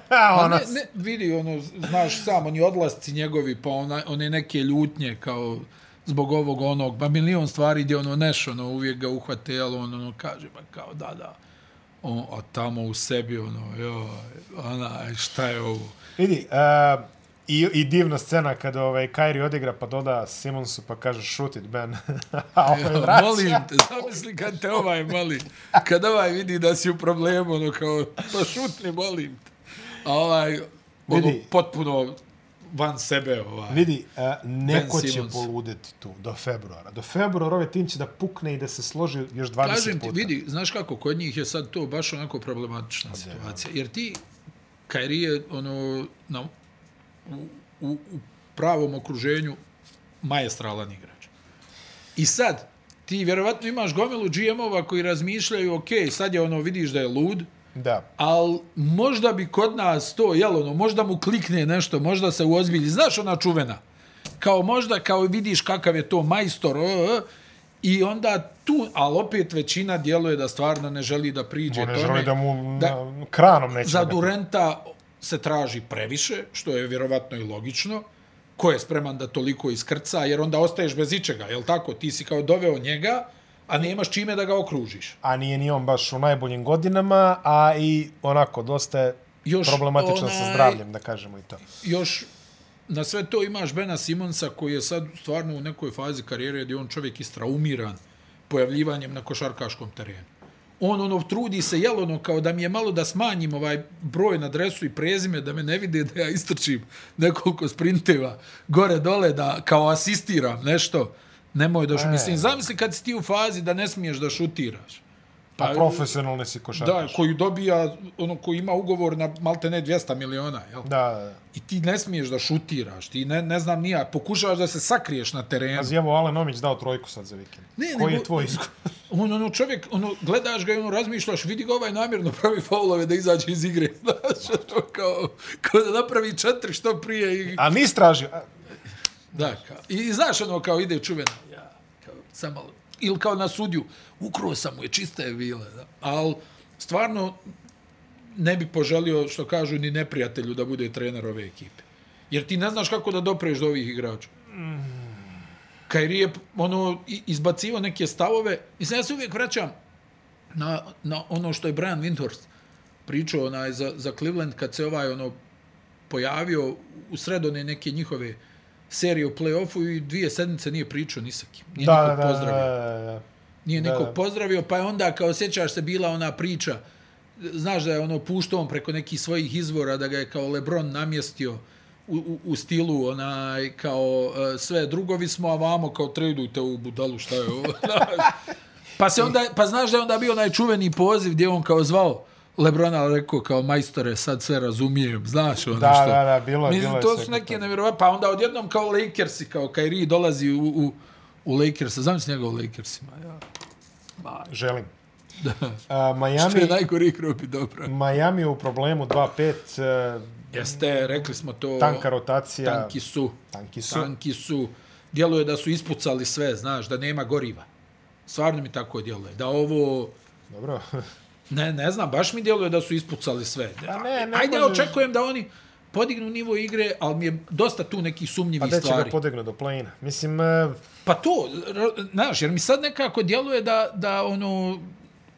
Speaker 1: Pa
Speaker 2: Ona,
Speaker 1: ne, ne, vidi, ono, znaš sam, oni odlasci njegovi, pa ona, one neke ljutnje kao zbog ovog onog, pa milion stvari gdje ono neš, ono, uvijek ga uhvate, ali on ono kaže, pa kao da, da, on, a tamo u sebi, ono, joj, ona, e, šta je ovo?
Speaker 2: Vidi, uh, i, i divna scena kada ovaj Kairi odigra pa doda Simonsu pa kaže shoot it Ben. A ovaj
Speaker 1: Evo,
Speaker 2: vraća.
Speaker 1: molim te, zamisli kad te ovaj moli, kad ovaj vidi da si u problemu, ono, kao, pa šutni, molim te. A ovaj, ono,
Speaker 2: Vidi.
Speaker 1: potpuno van sebe, ovaj.
Speaker 2: Vidi, a, neko
Speaker 1: Ben
Speaker 2: će
Speaker 1: Simmons.
Speaker 2: poludeti tu do februara. Do februara ovaj tim će da pukne i da se složi još 20
Speaker 1: Kažem ti,
Speaker 2: puta.
Speaker 1: vidi, znaš kako, kod njih je sad to baš onako problematična situacija. Jer ti, Kairi je ono, na, u, u, u pravom okruženju majestralan igrač. I sad, ti vjerovatno imaš gomilu GM-ova koji razmišljaju, ok, sad je ono, vidiš da je lud,
Speaker 2: Da.
Speaker 1: ali možda bi kod nas to, jel ono, možda mu klikne nešto, možda se uozbilji. Znaš ona čuvena? Kao možda, kao vidiš kakav je to majstor, o, o, i onda tu, ali opet većina djeluje da stvarno ne želi da priđe
Speaker 2: On ne
Speaker 1: tome.
Speaker 2: želi da mu
Speaker 1: da-
Speaker 2: na, kranom neće.
Speaker 1: Za
Speaker 2: da-
Speaker 1: Durenta se traži previše, što je vjerovatno i logično. Ko je spreman da toliko iskrca, jer onda ostaješ bez ičega, jel tako? Ti si kao doveo njega, a nemaš čime da ga okružiš.
Speaker 2: A nije ni on baš u najboljim godinama, a i onako dosta je
Speaker 1: Još
Speaker 2: problematično sa
Speaker 1: onaj-
Speaker 2: zdravljem, da kažemo i to.
Speaker 1: još na sve to imaš Bena Simonsa koji je sad stvarno u nekoj fazi karijere gdje je on čovjek istraumiran pojavljivanjem na košarkaškom terenu. On ono trudi se jel ono kao da mi je malo da smanjim ovaj broj na dresu i prezime da me ne vide da ja istrčim nekoliko sprinteva gore dole da kao asistiram nešto. Nemoj da šu-
Speaker 2: E.
Speaker 1: mislim zamisli kad si ti u fazi da ne smiješ da šutiraš.
Speaker 2: Pa, a profesionalni si
Speaker 1: da,
Speaker 2: košarkaš.
Speaker 1: koji dobija ono koji ima ugovor na maltene 200 miliona, jel?
Speaker 2: Da, da, da.
Speaker 1: i ti ne smiješ da šutiraš, ti ne, ne znam nija, pokušavaš da se sakriješ na terenu.
Speaker 2: Pazi, evo, Alen Omić dao trojku sad za vikend.
Speaker 1: Ne,
Speaker 2: Koji
Speaker 1: nego-
Speaker 2: je tvoj izgovor?
Speaker 1: On, ono, čovjek, ono, gledaš ga i ono, razmišljaš, vidi ga ovaj namjerno pravi faulove da izađe iz igre, znaš, to kao, kao da napravi četiri što prije i,
Speaker 2: A nis tražio. A,
Speaker 1: da, kao, i, i znaš, ono, kao ide čuvena, ja, kao, samo malo, Ili kao na sudiju, ukruo sam mu je, čista je bila. Da. Ali stvarno ne bi poželio, što kažu, ni neprijatelju da bude trener ove ekipe. Jer ti ne znaš kako da dopreš do ovih igrača. Kairi je ono, i- izbacivo neke stavove. Mislim, ja se uvijek vraćam na, na ono što je Brian Windhorst pričao onaj, za, za Cleveland kad se ovaj ono pojavio u sred one neke njihove serije u play-offu i dvije sedmice nije pričao ni sa kim. Nije da, nikog da, pozdravio. Da, da.
Speaker 2: da,
Speaker 1: Nije
Speaker 2: Da,
Speaker 1: nikog
Speaker 2: da.
Speaker 1: pozdravio, pa je onda, kao sjećaš se, bila ona priča, znaš da je ono puštao on preko nekih svojih izvora, da ga je kao Lebron namjestio u, u, u stilu onaj, kao e, sve drugovi smo, a vamo kao tradujte ovu budalu, šta je ovo? znaš. pa, se onda, pa znaš da je onda bio onaj čuveni poziv gdje je on kao zvao Lebrona, ali rekao kao majstore, sad sve razumijem, znaš ono
Speaker 2: Da,
Speaker 1: što.
Speaker 2: da, da, bilo je-
Speaker 1: Mislim,
Speaker 2: bilo je
Speaker 1: to
Speaker 2: svega
Speaker 1: su neke
Speaker 2: toga.
Speaker 1: nevjerovatne, pa onda odjednom kao Lakersi, kao Kairi dolazi u, u, u Lakersa, znam se njega u Lakersima, ja. Ma,
Speaker 2: želim.
Speaker 1: da.
Speaker 2: A,
Speaker 1: Što je
Speaker 2: Miami,
Speaker 1: najgori grupi, dobro.
Speaker 2: Miami je u problemu 2-5, e,
Speaker 1: Jeste, rekli smo to,
Speaker 2: tanka rotacija,
Speaker 1: tanki su,
Speaker 2: tanki su.
Speaker 1: tanki su, djeluje da su ispucali sve, znaš, da nema goriva. Stvarno mi tako djeluje, da ovo,
Speaker 2: Dobro.
Speaker 1: Ne, ne znam, baš mi djeluje da su ispucali sve.
Speaker 2: Pa ne, ne
Speaker 1: Ajde, ja
Speaker 2: možeš-
Speaker 1: očekujem da oni podignu nivo igre, ali mi je dosta tu nekih
Speaker 2: Pa
Speaker 1: sumnjivih
Speaker 2: da će ga
Speaker 1: stvari.
Speaker 2: podegnu do plane. Mislim, e,
Speaker 1: Pa to, ra- znaš, jer mi sad nekako djeluje da, da ono,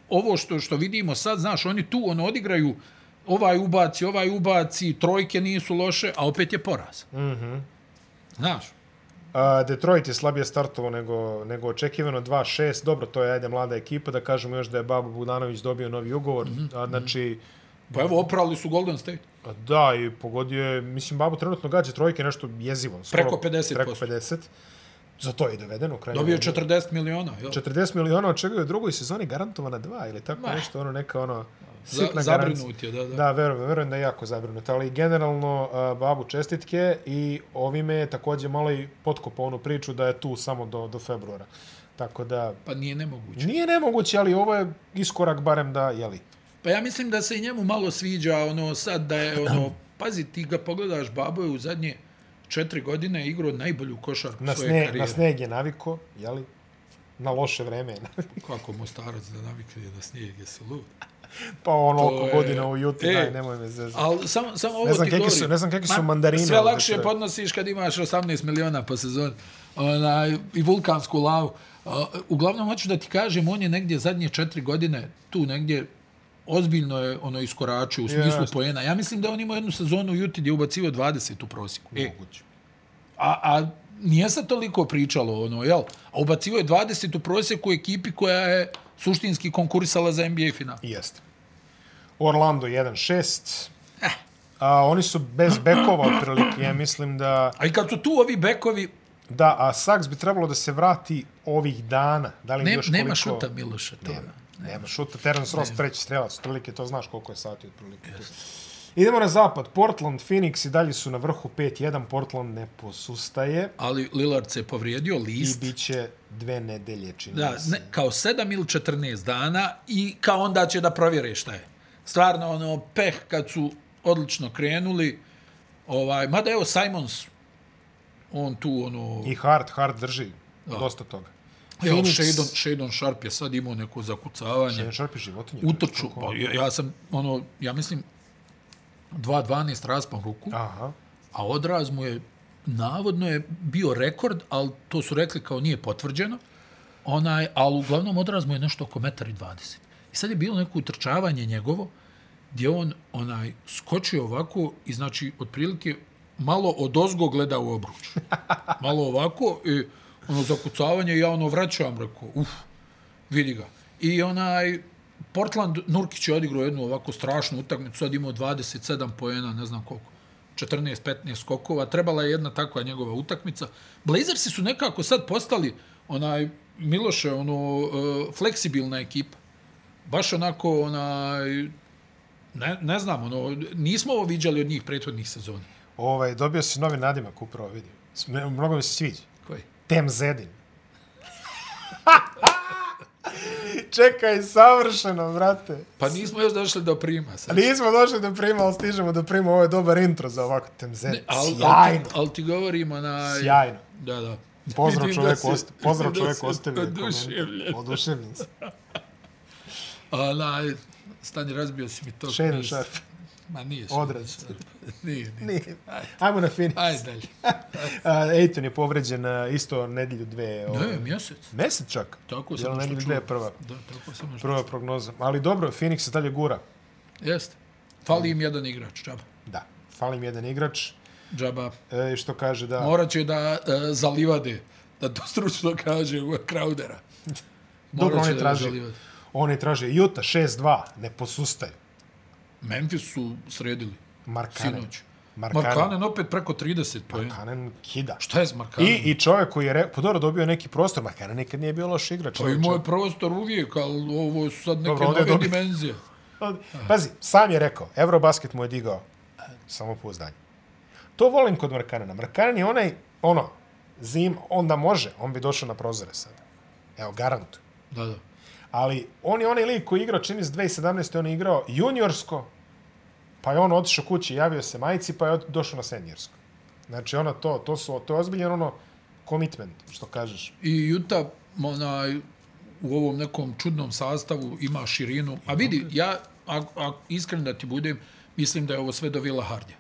Speaker 1: ovo što, što vidimo sad, znaš, oni tu ono, odigraju ovaj ubaci, ovaj ubaci, trojke nisu loše, a opet je poraz. Mm -hmm.
Speaker 2: Mhm.
Speaker 1: Znaš,
Speaker 2: a, Detroit je slabije startovao nego, nego očekivano 2-6. Dobro, to je ajde mlada ekipa. Da kažemo još da je Babo Budanović dobio novi ugovor.
Speaker 1: Mhm,
Speaker 2: A, znači,
Speaker 1: pa evo, oprali su Golden State.
Speaker 2: a da, i pogodio je, mislim, Babo trenutno gađa trojke nešto jezivo. Skoro,
Speaker 1: Preko 50%.
Speaker 2: Preko 50. Za to je i doveden u kraju.
Speaker 1: Dobio je 40 miliona, jel?
Speaker 2: 40 miliona, od čega je u drugoj sezoni garantovana dva ili tako
Speaker 1: Ma.
Speaker 2: nešto, ono neka ono
Speaker 1: Za,
Speaker 2: sitna garancija.
Speaker 1: zabrinut je, da, da.
Speaker 2: Da, verujem, verujem da je jako zabrinut, ali generalno uh, babu čestitke i ovime je također malo i potkopao onu priču da je tu samo do, do februara. Tako da
Speaker 1: Pa nije nemoguće.
Speaker 2: nije nemoguće, ali ovo je iskorak barem da, jeli,
Speaker 1: Pa ja mislim da se i njemu malo sviđa ono sad da je ono, pazi ti ga pogledaš, Babo je u zadnje četiri godine igrao najbolju košarku
Speaker 2: na,
Speaker 1: svoje
Speaker 2: sne, na
Speaker 1: karijere.
Speaker 2: sneg je naviko, jeli, na loše vreme. je naviko.
Speaker 1: Kako Mostarac da navikne na snijeg, jesi lud?
Speaker 2: pa ono
Speaker 1: To
Speaker 2: oko
Speaker 1: je-
Speaker 2: godina u Juti,
Speaker 1: E.
Speaker 2: daj, nemoj me zezati.
Speaker 1: Ali samo sam ovo
Speaker 2: Ne znam
Speaker 1: ti
Speaker 2: kakvi
Speaker 1: govorim.
Speaker 2: su- ne znam kakvi su
Speaker 1: Ma,
Speaker 2: mandarine
Speaker 1: Sve
Speaker 2: ovdje
Speaker 1: lakše
Speaker 2: koje-
Speaker 1: podnosiš kad imaš 18 miliona po sezoni. Onaj, I vulkansku lavu. A, Uglavnom, hoću da ti kažem, on je negdje zadnje četiri godine tu negdje ozbiljno je ono iskoračio u smislu
Speaker 2: Jasno.
Speaker 1: poena. Ja mislim da on ima jednu sezonu u Juti gdje je ubacio 20 u prosjeku. E,
Speaker 2: Moguće.
Speaker 1: a, a nije se toliko pričalo, ono, jel? A ubacio je 20 u prosjeku u ekipi koja je suštinski konkurisala za NBA final.
Speaker 2: Jeste. Orlando 1-6.
Speaker 1: Eh.
Speaker 2: A, oni su bez bekova otprilike, ja mislim da...
Speaker 1: A i kad su tu ovi bekovi,
Speaker 2: Da, a Saks bi trebalo da se vrati ovih dana. Da li
Speaker 1: ne,
Speaker 2: još
Speaker 1: nema
Speaker 2: koliko...
Speaker 1: šuta Miloša, to je.
Speaker 2: Nema šuta. Terence Ross, treći strelac, otprilike, to znaš koliko je sati otprilike. Idemo na zapad. Portland, Phoenix i dalje su na vrhu 5-1. Portland ne posustaje
Speaker 1: Ali Lillard se je povrijedio
Speaker 2: i
Speaker 1: list.
Speaker 2: bit će dve nedelje, čini
Speaker 1: Da,
Speaker 2: mi se.
Speaker 1: ne, kao 7 ili 14 dana i kao onda će da provjere šta je. Stvarno, ono, peh kad su odlično krenuli, ovaj, mada evo Simons, on tu, ono,
Speaker 2: I Hart, Hart drži dosta toga.
Speaker 1: evo,
Speaker 2: Phoenix-
Speaker 1: Shadon, Shadon Sharp je sad imao neko zakucavanje.
Speaker 2: Ne šarpi životinje.
Speaker 1: utrču. Pa, ja, ja sam, ono, ja mislim, 2.12 raspam ruku,
Speaker 2: Aha.
Speaker 1: a odraz mu je, navodno je bio rekord, ali to su rekli kao nije potvrđeno, onaj, ali uglavnom odraz mu je nešto oko 1,20 20. I sad je bilo neko utrčavanje njegovo, gdje on onaj skočio ovako i znači otprilike malo od ozgo gleda u obruč. Malo ovako i ono zakucavanje i ja ono vraćam, rekao, uf, vidi ga. I onaj, Portland, Nurkić je odigrao jednu ovako strašnu utakmicu, sad imao 27 poena, ne znam koliko, 14-15 skokova, trebala je jedna takva njegova utakmica. Blazersi su nekako sad postali, onaj, Miloše, ono, e, fleksibilna ekipa. Baš onako, onaj, ne, ne znam, ono, nismo ovo viđali od njih prethodnih sezona.
Speaker 2: Ovaj, dobio si novi nadimak upravo, vidim. Sme- Mnogo mi se sviđa.
Speaker 1: Koji?
Speaker 2: Tem Zedin. Čekaj, savršeno, brate.
Speaker 1: Pa nismo još došli do prima. Sad.
Speaker 2: Nismo došli do prima, ali stižemo do prima. Ovo je dobar intro za ovako Tem Zedin.
Speaker 1: Al, al,
Speaker 2: Sjajno.
Speaker 1: al ti govorimo na...
Speaker 2: Sjajno.
Speaker 1: Da, da.
Speaker 2: Pozdrav
Speaker 1: Vidim da
Speaker 2: čovjek,
Speaker 1: si-
Speaker 2: osta, pozdrav
Speaker 1: da
Speaker 2: čovjek
Speaker 1: si
Speaker 2: ostavio.
Speaker 1: oduševljen.
Speaker 2: komentar. Oduševljen sam.
Speaker 1: Ona, stani, razbio si mi to.
Speaker 2: Shane
Speaker 1: knjiz.
Speaker 2: Sharp.
Speaker 1: Ma nije.
Speaker 2: Odraz.
Speaker 1: Shane Sharp. Nije, nije.
Speaker 2: Nije. Ajmo na fini.
Speaker 1: Ajde dalje.
Speaker 2: A, Ejton je povređen a, isto nedelju dve. ovaj,
Speaker 1: Ne, mjesec.
Speaker 2: Mesec čak.
Speaker 1: Tako
Speaker 2: Jel
Speaker 1: sam
Speaker 2: nedelju
Speaker 1: nešto čuo.
Speaker 2: dve prva.
Speaker 1: Da, tako sam nešto
Speaker 2: Prva prognoza. Ali dobro, Phoenix se dalje gura.
Speaker 1: čuo. Jeste. Fali im jedan igrač, džaba.
Speaker 2: Da, fali im jedan igrač.
Speaker 1: Džaba.
Speaker 2: E, što kaže da...
Speaker 1: Morat će da e, zalivade, da to stručno kaže Crowdera.
Speaker 2: Dobro,
Speaker 1: Morat
Speaker 2: on
Speaker 1: će
Speaker 2: je
Speaker 1: da
Speaker 2: tražio.
Speaker 1: zalivade.
Speaker 2: On je tražio. Juta 6-2, ne posustaju.
Speaker 1: Memphis su sredili,
Speaker 2: Markanen.
Speaker 1: sinoć.
Speaker 2: Markanen.
Speaker 1: Markanen opet preko 30 pojena.
Speaker 2: Markanen kida.
Speaker 1: Šta je s Markanen?
Speaker 2: I, I čovjek koji je rekao, pa dobro, dobio je neki prostor, Markanen nikad nije bio loš igrač.
Speaker 1: Pa i
Speaker 2: čovječe.
Speaker 1: moj prostor uvijek, ali ovo su sad neke
Speaker 2: Dobro, ovdje je
Speaker 1: nove
Speaker 2: dobio.
Speaker 1: dimenzije.
Speaker 2: Pazi, sam je rekao, Eurobasket mu je digao samopouzdanje. To volim kod Markanena. Markanen je onaj, ono, zim, onda može, on bi došao na prozore sada. Evo, garantujem.
Speaker 1: Da, da.
Speaker 2: Ali on je onaj lik koji je igrao, čini se 2017. on je igrao juniorsko, pa je on otišao kući, javio se majici, pa je od- došao na seniorsko. Znači, ono to, to, su, to je ozbiljen ono commitment, što kažeš.
Speaker 1: I Juta onaj, u ovom nekom čudnom sastavu ima širinu. A vidi, ja, a, a, iskren da ti budem, mislim da je ovo sve do Vila Hardja.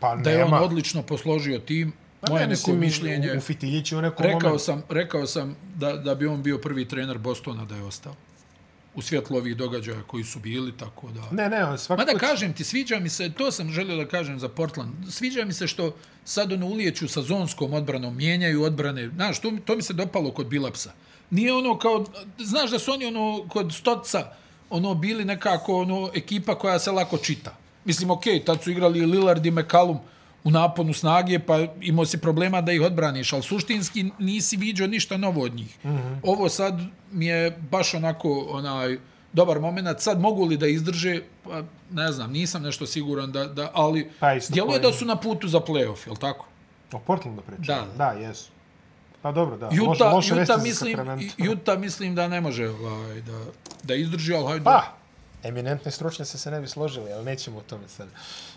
Speaker 2: Pa
Speaker 1: Da je
Speaker 2: nema.
Speaker 1: on odlično posložio tim.
Speaker 2: Pa
Speaker 1: Moje
Speaker 2: ne,
Speaker 1: neko
Speaker 2: mislim,
Speaker 1: mišljenje...
Speaker 2: U, u fitiljići u nekom
Speaker 1: Rekao
Speaker 2: momentu.
Speaker 1: sam, rekao sam da, da bi on bio prvi trener Bostona da je ostao. U svjetlu ovih događaja koji su bili, tako da...
Speaker 2: Ne, ne, on svakako...
Speaker 1: Ma da kažem ti, sviđa mi se, to sam želio da kažem za Portland, sviđa mi se što sad ono ulijeću sa zonskom odbranom, mijenjaju odbrane, znaš, to, mi- to mi se dopalo kod Bilapsa. Nije ono kao, znaš da su oni ono kod Stotca, ono bili nekako ono ekipa koja se lako čita. Mislim, okej, tad su igrali i Lillard i McCallum u naponu snage, pa imao si problema da ih odbraniš, ali suštinski nisi viđao ništa novo od njih. Mm
Speaker 2: Mhm.
Speaker 1: -hmm. Ovo sad mi je baš onako, onaj, dobar moment. Sad mogu li da izdrže, pa ne znam, nisam nešto siguran da, da ali
Speaker 2: Pa isto Pa,
Speaker 1: djeluje
Speaker 2: koji-
Speaker 1: da su na putu za play-off, jel tako?
Speaker 2: O Portlandu pričamo.
Speaker 1: Da.
Speaker 2: Da, jesu. Pa dobro, da.
Speaker 1: Juta,
Speaker 2: može, može
Speaker 1: Juta,
Speaker 2: vesti
Speaker 1: mislim,
Speaker 2: Juta...
Speaker 1: Juta mislim da ne može ovaj, da, da izdrži, ali hajde.
Speaker 2: Pa, eminentni stručnjaci se ne bi složili, ali nećemo o tome sad.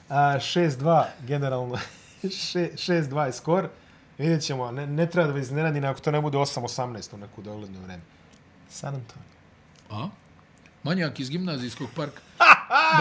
Speaker 2: A, 6-2, generalno, še- 6-2 je skor. Vidjet ćemo, ne, ne treba da vas iznenadi ako to ne bude 8-18 u neku dogledno vreme. San Antonio.
Speaker 1: A? Manjak iz gimnazijskog parka.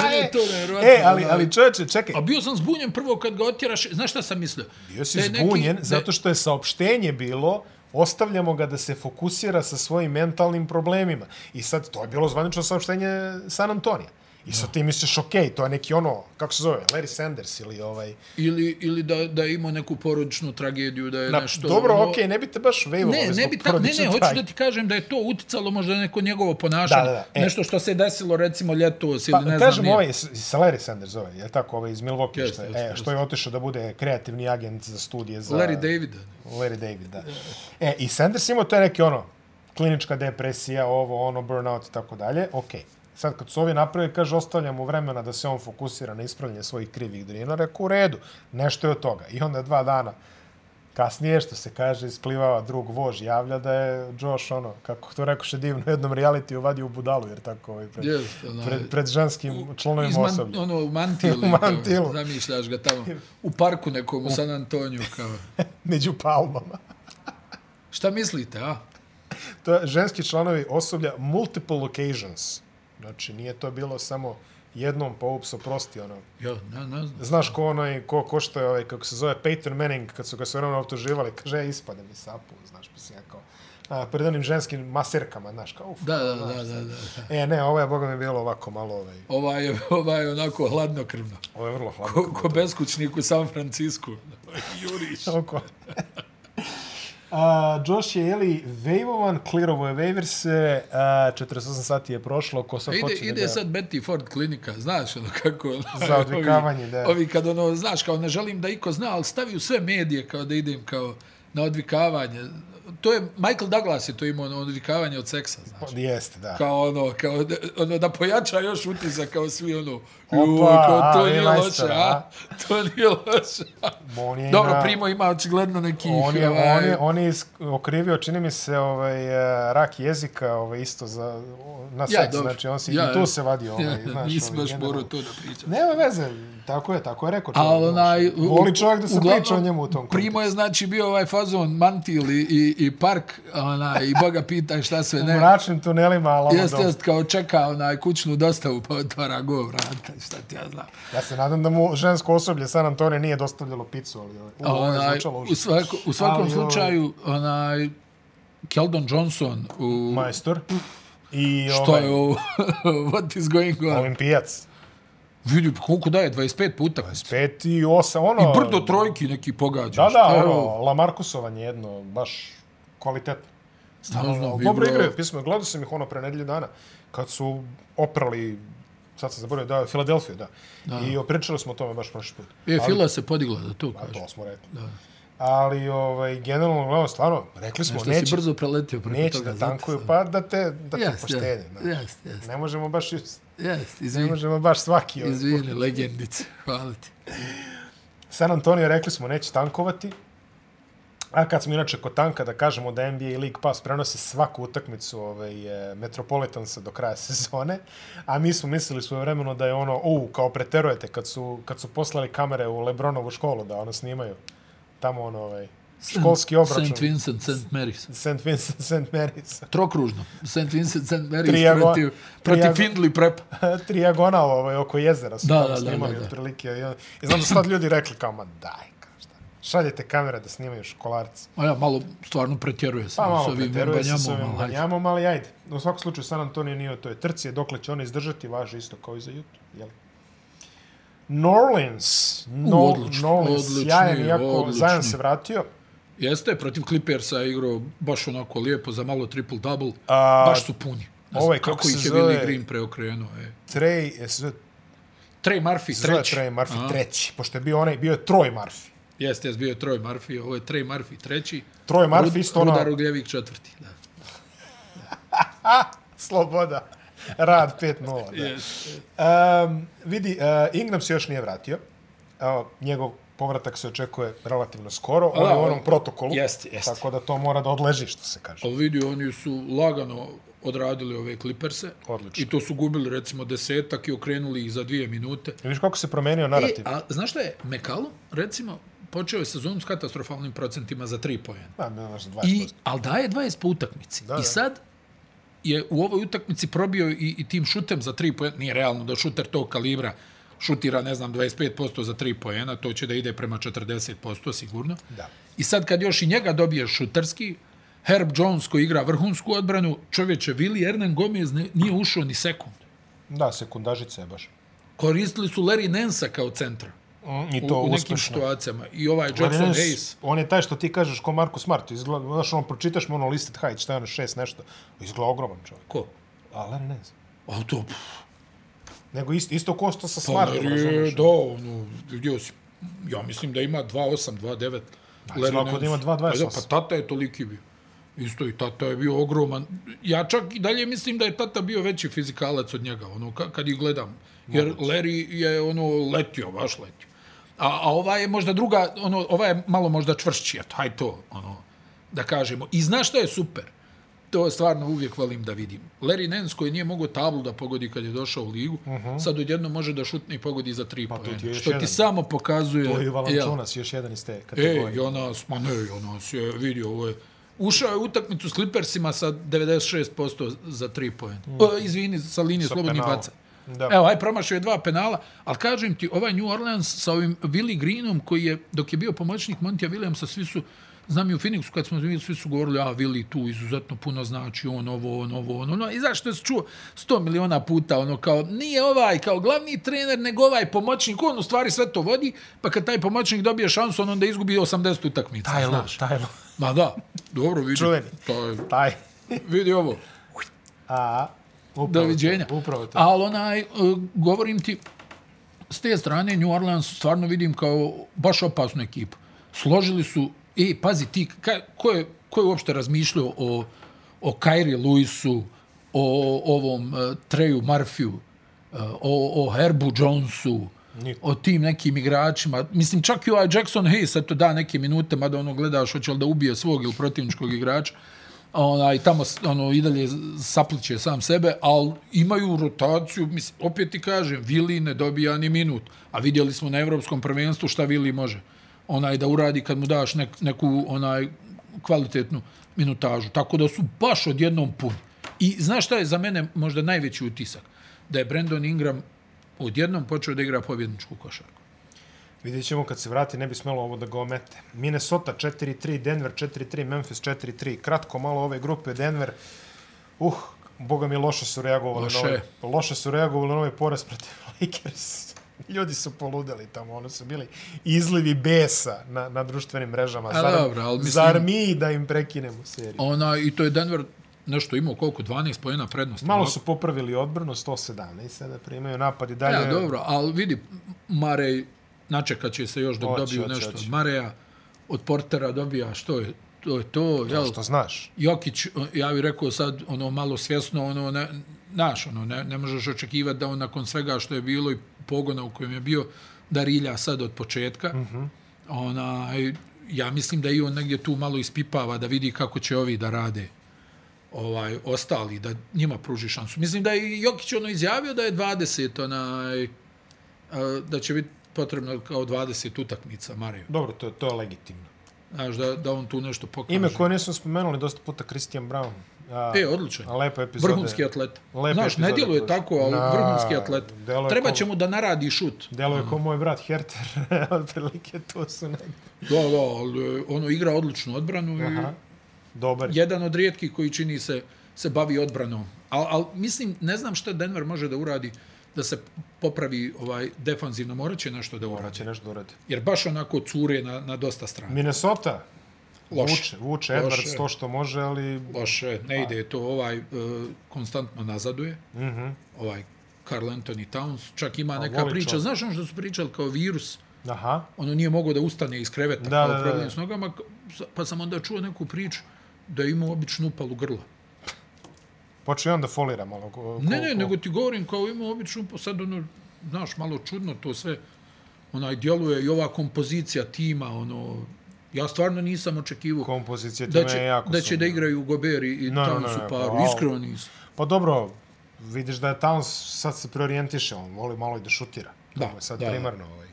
Speaker 1: Mene je to nevjerojatno.
Speaker 2: E, ali,
Speaker 1: ovaj.
Speaker 2: ali čovječe, čekaj.
Speaker 1: A bio sam zbunjen prvo kad ga otjeraš, znaš šta sam mislio?
Speaker 2: Bio si
Speaker 1: Da je neki-
Speaker 2: zbunjen
Speaker 1: da je-
Speaker 2: zato što je saopštenje bilo ostavljamo ga da se fokusira sa svojim mentalnim problemima. I sad, to je bilo zvanično saopštenje San Antonija. I sad ti misliš, ok, to je neki ono, kako se zove, Larry Sanders ili ovaj...
Speaker 1: Ili, ili da, da je imao neku porodičnu tragediju, da je
Speaker 2: Na,
Speaker 1: nešto...
Speaker 2: dobro,
Speaker 1: ono-
Speaker 2: ok, ne bi te baš vejvo.
Speaker 1: Ne, ne bi tako, ne, ne, hoću da ti kažem da je to uticalo možda na neko njegovo ponašanje.
Speaker 2: Da, da, da, e.
Speaker 1: Nešto što se desilo recimo ljetos
Speaker 2: Pa,
Speaker 1: ili ne
Speaker 2: kažem,
Speaker 1: znam.
Speaker 2: ovaj, s- sa Larry Sanders ovaj, je li tako, ovaj iz Milwaukee,
Speaker 1: Jeste,
Speaker 2: što, je,
Speaker 1: jeste,
Speaker 2: e, što je otišao da bude kreativni agent za studije za...
Speaker 1: nije. Larry Davida.
Speaker 2: Larry David, da. E, i Sanders imao to je neki ono, klinička depresija, ovo, ono, burnout i tako dalje. Ok. Sad kad su ovi napravili, kaže, ostavljamo vremena da se on fokusira na ispravljanje svojih krivih drina, rekao, u redu, nešto je od toga. I onda dva dana kasnije, što se kaže, isplivava drug vož, javlja da je Josh, ono, kako to rekoše divno, u jednom reality uvadio u budalu, jer tako, ovaj, pred,
Speaker 1: Jeste, onaj,
Speaker 2: pred, pred ženskim članovima
Speaker 1: Izman,
Speaker 2: osoblja.
Speaker 1: ono, u mantilu.
Speaker 2: U mantilu.
Speaker 1: Kao, zamišljaš ga tamo. U parku nekom u San Antoniju. Kao.
Speaker 2: Među palmama.
Speaker 1: Šta mislite, a?
Speaker 2: To je ženski članovi osoblja multiple occasions. Znači, nije to bilo samo jednom pa ups, oprosti, ono.
Speaker 1: Ja, ne, ne znam.
Speaker 2: Znaš ko onaj, ko, ko što je, ovaj, kako se zove, Peyton Manning, kad su ga sve vremena optuživali, kaže, "E, ispade mi sapu, znaš, pa si ja kao, a, pred onim ženskim maserkama, znaš, kao, uf.
Speaker 1: Da, da, da, da, da.
Speaker 2: E, ne, ovo je, boga mi, bilo ovako malo, ovaj,
Speaker 1: Ova je, ova je onako hladnokrvna.
Speaker 2: ovo je vrlo hladno.
Speaker 1: Ko, ko beskućnik u San Francisku. Juriš.
Speaker 2: Oko. A, Josh je, jeli, vejvovan, klirovo je vejverse, a, 48 sati je prošlo, ko sad
Speaker 1: Ide,
Speaker 2: počinje
Speaker 1: ide
Speaker 2: da...
Speaker 1: sad Betty Ford klinika, znaš ono kako... Ono,
Speaker 2: Za odvikavanje, da.
Speaker 1: Ovi, ovi kad ono, znaš, kao ne želim da iko zna, ali stavi u sve medije kao da idem kao na odvikavanje. To je, Michael Douglas je to imao ono, odvikavanje od seksa, znaš.
Speaker 2: Jeste, da.
Speaker 1: Kao ono, kao da, ono, da pojača još utisak, kao svi ono, ju,
Speaker 2: Opa,
Speaker 1: kao to
Speaker 2: a,
Speaker 1: nije
Speaker 2: Eli
Speaker 1: loše,
Speaker 2: Leicester,
Speaker 1: a? To nije loše.
Speaker 2: On je
Speaker 1: Dobro,
Speaker 2: na-
Speaker 1: Primo ima očigledno nekih...
Speaker 2: On je,
Speaker 1: ovaj,
Speaker 2: on je, on je isk- okrivio, čini mi se, ovaj, eh, rak jezika ovaj, isto za, na seks.
Speaker 1: dobro.
Speaker 2: znači, on se,
Speaker 1: Ja,
Speaker 2: i tu
Speaker 1: ja.
Speaker 2: se vadi ovaj,
Speaker 1: Ja,
Speaker 2: znaš,
Speaker 1: nisam
Speaker 2: ovaj,
Speaker 1: baš
Speaker 2: generalno.
Speaker 1: morao to da pričam.
Speaker 2: Nema veze, tako je, tako je rekao. čovjek,
Speaker 1: Ali
Speaker 2: znaš. ono,
Speaker 1: onaj... u-
Speaker 2: Voli čovjek da se
Speaker 1: uglavnom,
Speaker 2: priča o njemu u tom kontekstu.
Speaker 1: Primo je znači bio ovaj faz, fazon mantil i, i, i park, ona, i boga pitaj šta sve
Speaker 2: U
Speaker 1: ne.
Speaker 2: mračnim tunelima, ali ono
Speaker 1: Jeste,
Speaker 2: dobro.
Speaker 1: jeste, kao čeka onaj kućnu dostavu, pa otvara go vrata, i šta ti ja znam.
Speaker 2: Ja se nadam da mu žensko osoblje San Antonio nije dostavljalo picu, ali ovo- ovo je
Speaker 1: Onaj,
Speaker 2: zvučalo
Speaker 1: u,
Speaker 2: užasno.
Speaker 1: svako, u svakom
Speaker 2: Ali, ovaj, ovo-
Speaker 1: slučaju, onaj, Keldon Johnson u...
Speaker 2: Majstor. I
Speaker 1: Što
Speaker 2: ovaj,
Speaker 1: je ovo? What is going on?
Speaker 2: Olimpijac.
Speaker 1: Vidi, pa koliko daje? 25 puta.
Speaker 2: 5 i 8, ono...
Speaker 1: I brdo trojki neki pogađa.
Speaker 2: Da,
Speaker 1: Šta
Speaker 2: da,
Speaker 1: je
Speaker 2: ono,
Speaker 1: ovo?
Speaker 2: Lamarkusovanje jedno, baš kvalitetno. Stvarno,
Speaker 1: Ne znam,
Speaker 2: ali
Speaker 1: bi
Speaker 2: dobro
Speaker 1: bilo-
Speaker 2: igraju, pismo, gledao sam ih ono pre nedelju dana, kad su oprali, sad sam zaboravio, da, Filadelfiju, da. da. I opričali smo o tome baš prošli put.
Speaker 1: E, Fila se podigla da to
Speaker 2: A
Speaker 1: kaže.
Speaker 2: to smo rekli. Da. Ali, ovaj, generalno, gledano, stvarno, rekli smo,
Speaker 1: Što si
Speaker 2: neće,
Speaker 1: brzo preletio preko
Speaker 2: neće
Speaker 1: toga.
Speaker 2: da tankuju, pa da te, da te yes,
Speaker 1: Jest,
Speaker 2: poštene.
Speaker 1: jest,
Speaker 2: da.
Speaker 1: jest, jest,
Speaker 2: Ne možemo baš, just-
Speaker 1: jest,
Speaker 2: ne
Speaker 1: izvini,
Speaker 2: možemo baš svaki. ovaj.
Speaker 1: izvini, legendice, hvala ti.
Speaker 2: San Antonio rekli smo neće tankovati. A kad smo inače kod tanka, da kažemo da NBA League Pass prenosi svaku utakmicu ovaj, e, Metropolitansa do kraja sezone, a mi smo mislili svoje vremeno da je ono, u, kao preterujete kad su, kad su poslali kamere u Lebronovu školu da ono snimaju tamo ono, ovaj, školski obračun.
Speaker 1: St. Vincent, St. Mary's.
Speaker 2: St. Vincent, St. Mary's.
Speaker 1: Trokružno. St. Vincent, St. Mary's
Speaker 2: Trijago-
Speaker 1: protiv, protiv
Speaker 2: trijago-
Speaker 1: Findley Prep.
Speaker 2: Trijagonal ovaj, oko jezera su
Speaker 1: Da,
Speaker 2: tamo
Speaker 1: da, da,
Speaker 2: snimali
Speaker 1: da, da.
Speaker 2: otprilike. I, on- I znam da su tad ljudi rekli kao, ma daj, kao šta. Šaljete kamere da snimaju školarci.
Speaker 1: A ja malo stvarno pretjeruje sam
Speaker 2: Pa malo
Speaker 1: s ovim
Speaker 2: preteruje se s ovim
Speaker 1: banjamom, ali hajde.
Speaker 2: Banjamom, ali ajde. U svakom slučaju San Antonio nije u toj trci, dokle će on izdržati, važi isto kao i za Utah, jel? Norlins, no,
Speaker 1: odlični,
Speaker 2: Norlins,
Speaker 1: odlični,
Speaker 2: sjajan, iako
Speaker 1: odlični.
Speaker 2: Zajan se vratio.
Speaker 1: Jeste, protiv Clippersa je igrao baš onako lijepo za malo triple-double.
Speaker 2: A,
Speaker 1: Baš su puni. Ne znam
Speaker 2: ovaj, kako
Speaker 1: kako
Speaker 2: se
Speaker 1: ih je
Speaker 2: zove-
Speaker 1: Willie Green preokrenuo. E.
Speaker 2: Trey, je se zove,
Speaker 1: Trey Murphy,
Speaker 2: se zove
Speaker 1: treći.
Speaker 2: Trey Murphy,
Speaker 1: Aha.
Speaker 2: treći, pošto je bio onaj, bio je Troy Murphy.
Speaker 1: Jeste, jeste bio je Troj Marfi, ovo je Trey Marfi treći.
Speaker 2: Troy Murphy isto ono-
Speaker 1: Rudar Ugljević četvrti, da.
Speaker 2: Sloboda, rad 5-0. Da. Um, vidi, uh, Ingram se još nije vratio. Evo, njegov povratak se očekuje relativno skoro. On
Speaker 1: da,
Speaker 2: je u
Speaker 1: on-
Speaker 2: onom protokolu.
Speaker 1: jeste, jeste.
Speaker 2: Tako da to mora da odleži, što se kaže.
Speaker 1: Ali vidi, oni su lagano odradili ove Clipperse.
Speaker 2: Odlično.
Speaker 1: I to su gubili recimo desetak i okrenuli ih za dvije minute.
Speaker 2: Viš kako se promenio
Speaker 1: E,
Speaker 2: narativ?
Speaker 1: a znaš šta je? Mekalo, recimo, počeo je sezonu s katastrofalnim procentima za tri pojena.
Speaker 2: Da, bilo nešto
Speaker 1: I,
Speaker 2: 20%.
Speaker 1: ali daje 20 po utakmici.
Speaker 2: Da,
Speaker 1: I
Speaker 2: da.
Speaker 1: sad je u ovoj utakmici probio i, i tim šutem za 3 poena. Nije realno da šuter tog kalibra šutira, ne znam, 25% za 3 poena, to će da ide prema 40% sigurno.
Speaker 2: Da.
Speaker 1: I sad kad još i njega dobiješ šuterski, Herb Jones koji igra vrhunsku odbranu, čovječe, Vili Hernan Gomez ne, nije ušao ni sekund.
Speaker 2: Da, sekundažica je baš.
Speaker 1: Koristili su Larry Nensa kao centra
Speaker 2: I
Speaker 1: Mm, u,
Speaker 2: to
Speaker 1: u nekim
Speaker 2: uspešno.
Speaker 1: situacijama. I ovaj Jackson
Speaker 2: Martinez,
Speaker 1: Hayes.
Speaker 2: On je taj što ti kažeš ko Marko Smart. Izgleda, znaš, on pročitaš mu ono listed height, šta je ono, šest nešto. Izgleda ogroman čovjek.
Speaker 1: Ko?
Speaker 2: Ali ne znam.
Speaker 1: A to, pff,
Speaker 2: Nego isto, isto ko što sa
Speaker 1: Pa
Speaker 2: Smartom,
Speaker 1: Larry je,
Speaker 2: razumiješ?
Speaker 1: da, ono, vidio si, ja mislim da ima 2.8, 2.9. Larry
Speaker 2: Pa izgleda
Speaker 1: Nance.
Speaker 2: da ima 2.28.
Speaker 1: Pa da, Pa tata je toliki bio. Isto i tata je bio ogroman. Ja čak i dalje mislim da je tata bio veći fizikalac od njega, ono, ka, kad ih gledam. Jer Larry je, ono, letio, baš letio. A, a ova je možda druga, ono, ova je malo možda čvršći, eto, haj to, ono, da kažemo. I znaš šta je super? To stvarno uvijek volim da vidim. Larry Nance koji nije mogao tablu da pogodi kad je došao u ligu, uh -huh. sad odjedno može da šutne i pogodi za tri
Speaker 2: Mhm. Pa to ti je
Speaker 1: pojene.
Speaker 2: još
Speaker 1: Što ti
Speaker 2: jedan.
Speaker 1: samo pokazuje...
Speaker 2: To je
Speaker 1: jel,
Speaker 2: Valančunas, još jedan iz te
Speaker 1: E,
Speaker 2: kategorije.
Speaker 1: Jonas, ma ne, Jonas je vidio, ovo je, ušao je u utakmicu s Clippersima sa 96% za tri pojene. Mm. O, izvini, sa linije slobodnih
Speaker 2: penala.
Speaker 1: baca.
Speaker 2: Da.
Speaker 1: Evo, aj promašio je dva penala, ali kažem ti, ovaj New Orleans sa ovim Willie Greenom, koji je, dok je bio pomoćnik Montija Williamsa, svi su, znam i u Phoenixu, kad smo bili, svi su govorili, a Willie tu izuzetno puno znači, on ovo, on ovo, on ono, i zašto se čuo 100 miliona puta, ono, kao, nije ovaj, kao glavni trener, nego ovaj pomoćnik, on u stvari sve to vodi, pa kad taj pomoćnik dobije šansu, on onda izgubi 80 utakmica,
Speaker 2: Tajlo,
Speaker 1: znaš.
Speaker 2: tajlo.
Speaker 1: Ma da, dobro vidi.
Speaker 2: Čuveni.
Speaker 1: To je,
Speaker 2: Taj.
Speaker 1: vidi ovo.
Speaker 2: A, upravo to,
Speaker 1: Doviđenja.
Speaker 2: Upravo to.
Speaker 1: Ali onaj, e, govorim ti, s te strane New Orleans stvarno vidim kao baš opasnu ekipu. Složili su, e, pazi ti, ka, ko, je, ko je uopšte razmišljao o, o Kairi Lewisu, o ovom uh, Treju Murphyu, e, o, o Herbu Jonesu,
Speaker 2: Niko.
Speaker 1: o tim nekim igračima. Mislim, čak i ovaj Jackson Hayes, eto da neke minute, mada ono gledaš, hoće li da ubije svog ili protivničkog igrača, a onaj, tamo s- ono, i dalje sapliće sam sebe, ali imaju rotaciju, mislim, opet ti kažem, Vili ne dobija ni minut, a vidjeli smo na evropskom prvenstvu šta Vili može. onaj da uradi kad mu daš nek, neku onaj kvalitetnu minutažu. Tako da su baš odjednom puni. I znaš šta je za mene možda najveći utisak? Da je Brandon Ingram odjednom počeo da igra pobjedničku košarku.
Speaker 2: Vidjet ćemo kad se vrati, ne bi smelo ovo da ga omete. Minnesota 4-3, Denver 4-3, Memphis 4-3. Kratko malo ove grupe Denver. Uh, boga mi loše su reagovali
Speaker 1: Loše.
Speaker 2: na ovaj, loše su reagovali na ovaj poraz protiv Lakers. Ljudi su poludeli tamo, ono su bili izlivi besa na, na društvenim mrežama.
Speaker 1: A dobro, ali mislim-
Speaker 2: zar mi da im prekinemo seriju?
Speaker 1: Ona, I to je Denver nešto imao koliko? 12 pojena prednosti.
Speaker 2: Malo su popravili odbranu, 117 sada primaju napad i dalje.
Speaker 1: Ja, dobro, ali vidi, Marej, načekat će se još dok
Speaker 2: Hoće,
Speaker 1: dobiju
Speaker 2: hoće,
Speaker 1: nešto
Speaker 2: hoće.
Speaker 1: od Mareja, od Portera dobija, što je, to je to, jel?
Speaker 2: Što znaš?
Speaker 1: Jokić, e, ja bih rekao sad, ono, malo svjesno, ono, ne, naš, ono, ne, ne možeš očekivati da on nakon svega što je bilo i pogona u kojem je bio, da rilja sad od početka. Mm -hmm. Onaj, ja mislim da i on negdje tu malo ispipava da vidi kako će ovi da rade ovaj ostali, da njima pruži šansu. Mislim da je i Jokić ono izjavio da je 20, onaj, e, da će biti potrebno kao 20 utakmica Mariju.
Speaker 2: Dobro, to, je- to je legitimno.
Speaker 1: Znaš, da, da on tu nešto pokaže.
Speaker 2: Ime koje nismo spomenuli dosta puta, Christian Brown. A,
Speaker 1: E, odličan.
Speaker 2: lepa epizoda.
Speaker 1: Vrhunski atlet.
Speaker 2: Lepe
Speaker 1: Znaš, ne
Speaker 2: epizode
Speaker 1: djeluje
Speaker 2: koje-
Speaker 1: tako, ali
Speaker 2: Na,
Speaker 1: vrhunski atlet.
Speaker 2: deluje
Speaker 1: Treba
Speaker 2: kao-
Speaker 1: će mu da naradi šut.
Speaker 2: Delo je kao moj brat Herter, otprilike to su neki.
Speaker 1: Da, da, ali e, ono igra odličnu odbranu i
Speaker 2: Aha. Dobar. je.
Speaker 1: jedan od rijetkih koji čini se se bavi odbranom. Al, al mislim, ne znam šta Denver može da uradi da se popravi ovaj defanzivno, morat će nešto da
Speaker 2: Morat
Speaker 1: uradi.
Speaker 2: će nešto da uradi.
Speaker 1: Jer baš onako cure na, na dosta strana.
Speaker 2: Minnesota.
Speaker 1: Loše.
Speaker 2: Vuče, vuče
Speaker 1: Loše.
Speaker 2: Edwards to što može, ali...
Speaker 1: Loše, ne ide to, ovaj e, konstantno nazaduje.
Speaker 2: Mhm.
Speaker 1: Ovaj Carl Anthony Towns, čak ima neka
Speaker 2: voli
Speaker 1: priča,
Speaker 2: čovjek.
Speaker 1: znaš ono što su pričali kao virus,
Speaker 2: Aha.
Speaker 1: ono nije mogao da ustane iz kreveta
Speaker 2: Da,
Speaker 1: da, kao
Speaker 2: da, da,
Speaker 1: problem
Speaker 2: da.
Speaker 1: s nogama, k- pa sam onda čuo neku priču da je imao običnu upalu grla.
Speaker 2: Počeo je on da folira malo. Ko, ko,
Speaker 1: Ne, ne,
Speaker 2: ko-
Speaker 1: nego ti govorim kao imao običnu upalu, sad ono, znaš, malo čudno to sve, onaj, djeluje i ova kompozicija tima, ono, ja stvarno nisam očekivao
Speaker 2: Kompozicija
Speaker 1: da
Speaker 2: time je
Speaker 1: će,
Speaker 2: jako
Speaker 1: da, će
Speaker 2: sumnja.
Speaker 1: da igraju Gober i, i
Speaker 2: Ne, ne,
Speaker 1: Towns
Speaker 2: ne,
Speaker 1: u paru,
Speaker 2: ne, pa, au.
Speaker 1: iskreno nisam.
Speaker 2: Pa dobro, vidiš da je Towns sad se preorijentiše, on voli malo i da šutira.
Speaker 1: Da,
Speaker 2: Ovo je sad
Speaker 1: da.
Speaker 2: primarno ovaj.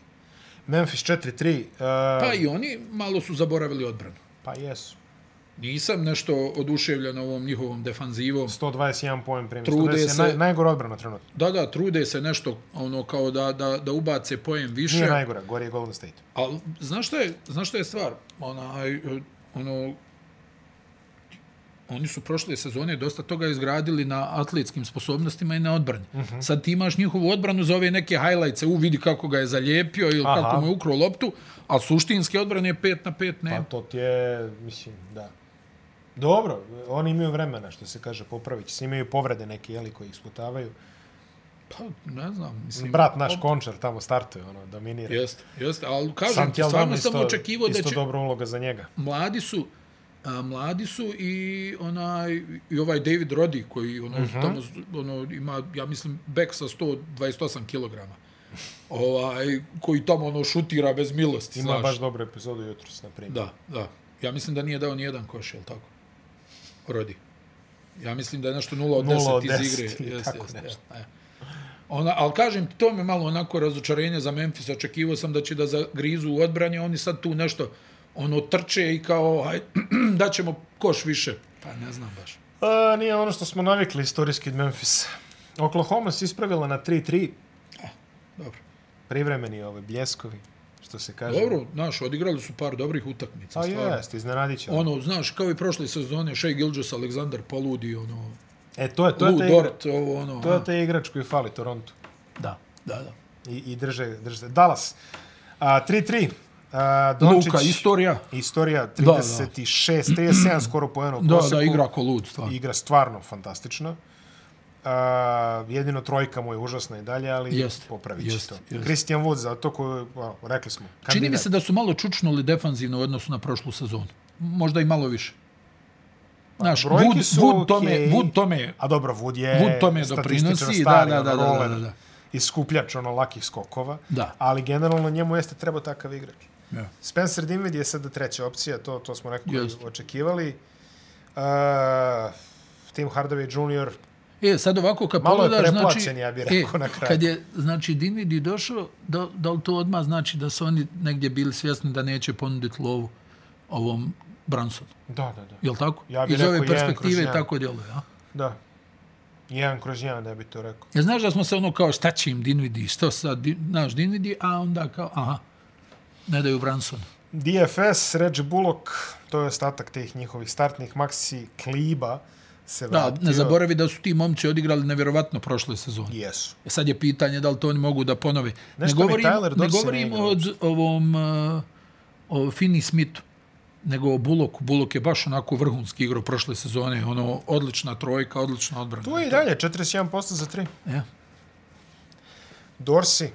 Speaker 2: Memphis 4-3. Uh,
Speaker 1: Pa i oni malo su zaboravili odbranu.
Speaker 2: pa jesu.
Speaker 1: Nisam nešto oduševljen ovom njihovom defanzivom.
Speaker 2: 121 poen primio.
Speaker 1: Trude
Speaker 2: 110 je
Speaker 1: se-
Speaker 2: naj, najgora odbrana trenutno.
Speaker 1: Da, da, trude se nešto ono kao da, da, da ubace pojem više.
Speaker 2: Nije najgora, gori je Golden State.
Speaker 1: Ali, znaš šta je, znaš šta je stvar? Onaj, e, ono, oni su prošle sezone dosta toga izgradili na atletskim sposobnostima i na odbrani. Uh
Speaker 2: Mhm.
Speaker 1: -huh. Sad ti imaš njihovu odbranu za ove neke highlights, u vidi kako ga je zalijepio ili
Speaker 2: Aha.
Speaker 1: Aha. kako mu je ukro loptu, ali suštinski odbrane je 5 na 5, ne.
Speaker 2: Pa to ti je, mislim, da. Dobro, oni imaju vremena, što se kaže, popravit će se. Imaju povrede neke, jeli, koji ih sputavaju.
Speaker 1: Pa, ne znam, mislim...
Speaker 2: Brat naš Končar tamo startuje, ono, dominira.
Speaker 1: Jeste, jeste, ali kažem ti,
Speaker 2: Santi Aldama
Speaker 1: stvarno
Speaker 2: isto-
Speaker 1: sam očekivao da
Speaker 2: Isto
Speaker 1: će...
Speaker 2: dobra uloga za njega.
Speaker 1: mladi su a, mladi su i onaj i ovaj David Roddy koji ono
Speaker 2: Mhm.
Speaker 1: uh -huh. tamo z- ono ima ja mislim bek sa 128 kg. Ovaj koji tamo ono šutira bez milosti,
Speaker 2: Ima
Speaker 1: znaš.
Speaker 2: baš dobru epizodu jutros, na primjer.
Speaker 1: Da, da. Ja mislim da nije dao ni jedan koš, jel tako? Rodi. Ja mislim da je nešto 0 od 10,
Speaker 2: 0 od
Speaker 1: 10 iz igre.
Speaker 2: 10 ili
Speaker 1: Jeste,
Speaker 2: tako
Speaker 1: jeste,
Speaker 2: nešto.
Speaker 1: jeste, e. Ona, ali kažem, ti, to mi je malo onako razočarenje za Memphis. Očekivao sam da će da zagrizu u odbranje, oni sad tu nešto ono trče i kao aj, da ćemo koš više. Pa ne znam baš.
Speaker 2: A, nije ono što smo navikli istorijski od Memphisa. Oklahoma se ispravila na 3-3,
Speaker 1: Dobro.
Speaker 2: privremeni ove bljeskovi, što se kaže.
Speaker 1: Dobro, znaš, odigrali su par dobrih utakmica.
Speaker 2: A
Speaker 1: stvarno.
Speaker 2: jest, iznenadit će.
Speaker 1: Ono, znaš, kao i prošle sezone, Shea Gilgis Aleksandar poludi, ono,
Speaker 2: E, to je, to je,
Speaker 1: Lou
Speaker 2: ta igra,
Speaker 1: Dort, ovo, ono.
Speaker 2: to je
Speaker 1: a.
Speaker 2: ta igrač koji fali Torontu.
Speaker 1: Da, da, da.
Speaker 2: I, i drže, drže. Dallas, a, 3-3. A, Dončić,
Speaker 1: Luka, istorija.
Speaker 2: Istorija
Speaker 1: da.
Speaker 2: 36, 37 skoro po eno
Speaker 1: Da, da, igra ko lud, stvarno.
Speaker 2: Igra stvarno fantastično. A, jedino trojka mu je užasna i dalje, ali
Speaker 1: Jeste,
Speaker 2: popravit će
Speaker 1: jeste,
Speaker 2: to.
Speaker 1: jeste.
Speaker 2: Christian Wood za to koju, a, rekli smo, kandidat.
Speaker 1: Čini mi se da su malo čučnuli defanzivno u odnosu na prošlu sezonu. Možda i malo više. Znaš,
Speaker 2: Pa, brojke
Speaker 1: Wood,
Speaker 2: su
Speaker 1: Wood, tome,
Speaker 2: okej.
Speaker 1: Wood tome,
Speaker 2: A dobro, Wood je
Speaker 1: Wood tome
Speaker 2: statističar,
Speaker 1: doprinosi, da,
Speaker 2: stari,
Speaker 1: da,
Speaker 2: ono,
Speaker 1: da, da, da,
Speaker 2: roller
Speaker 1: da, da.
Speaker 2: i skupljač ono lakih skokova,
Speaker 1: Da.
Speaker 2: ali generalno njemu jeste trebao takav igrač.
Speaker 1: Ja.
Speaker 2: Spencer Dinwiddie je sada treća opcija, to, to smo nekako
Speaker 1: Jeste.
Speaker 2: očekivali. Uh, Tim Hardaway Jr.
Speaker 1: E, sad ovako kad
Speaker 2: Malo je
Speaker 1: pogledaš, znači...
Speaker 2: preplaćen, ja bih rekao
Speaker 1: e,
Speaker 2: na kraju.
Speaker 1: Kad je, znači, Dinvidi došao, da, da li to odmah znači da su oni negdje bili svjesni da neće ponuditi lovu ovom Bransonu?
Speaker 2: Da, da, da.
Speaker 1: Je li tako?
Speaker 2: Ja bih
Speaker 1: Iz ove
Speaker 2: rekao jedan kroz
Speaker 1: perspektive
Speaker 2: jedan.
Speaker 1: tako djeluje, a?
Speaker 2: Da. Jedan kroz jedan, ne bi to rekao.
Speaker 1: Ja znaš da smo se ono kao šta će im Dinvidi, što sad Din- naš Dinvidi, a onda kao, aha, ne daju Branson.
Speaker 2: DFS, Reggie Bullock, to je ostatak tih njihovih startnih, Maxi Kliba se
Speaker 1: Da,
Speaker 2: vratio.
Speaker 1: ne zaboravi da su ti momci odigrali nevjerovatno prošle sezone.
Speaker 2: Jesu.
Speaker 1: E sad je pitanje da li to oni mogu da ponove.
Speaker 2: Nešto mi
Speaker 1: ne govorim,
Speaker 2: Tyler
Speaker 1: ne
Speaker 2: Dorsey
Speaker 1: govorim
Speaker 2: ne igra
Speaker 1: o d- ovom uh, o Fini Smithu, nego o Buloku. Bulok je baš onako vrhunski igro prošle sezone. Ono, odlična trojka, odlična odbrana. E,
Speaker 2: Tu je i dalje, 41% za 3.
Speaker 1: Ja.
Speaker 2: Dorsi,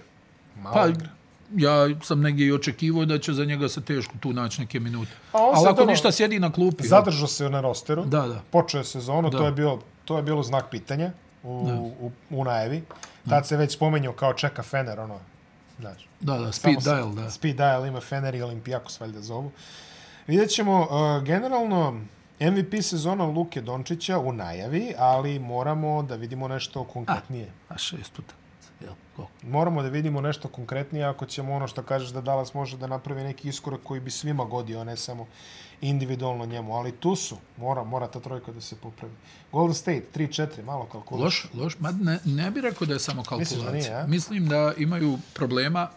Speaker 2: malo
Speaker 1: Pa,
Speaker 2: igra.
Speaker 1: ja sam negdje i očekivao da će za njega se teško tu naći neke minute.
Speaker 2: Pa on
Speaker 1: Ali
Speaker 2: sad
Speaker 1: ako
Speaker 2: ono-
Speaker 1: ništa sjedi na klupi.
Speaker 2: Zadržao se na rosteru.
Speaker 1: Da, da.
Speaker 2: Počeo je sezonu,
Speaker 1: Da.
Speaker 2: to je bilo to je bilo znak pitanja u, u, u najavi. Tad se već spomenuo kao čeka Fener, ono, znači.
Speaker 1: Da, da,
Speaker 2: Samo
Speaker 1: speed
Speaker 2: se-
Speaker 1: dial, da.
Speaker 2: Speed dial ima Fener i Olimpijakos valjda zovu. Vidjet ćemo, uh, generalno, MVP sezona Luke Dončića u najavi, ali moramo da vidimo nešto konkretnije.
Speaker 1: A šest utakmica, jel? Koliko?
Speaker 2: Moramo da vidimo nešto konkretnije ako ćemo ono što kažeš da Dallas može da napravi neki iskorak koji bi svima godio, a ne samo individualno njemu. Ali tu su, mora, mora ta trojka da se popravi. Golden State, 3-4, malo kalkulaš.
Speaker 1: Loš, loš. Ma ne, ne bih rekao da je samo
Speaker 2: Misliš da
Speaker 1: kalkulacija.
Speaker 2: nije, a?
Speaker 1: Mislim da imaju problema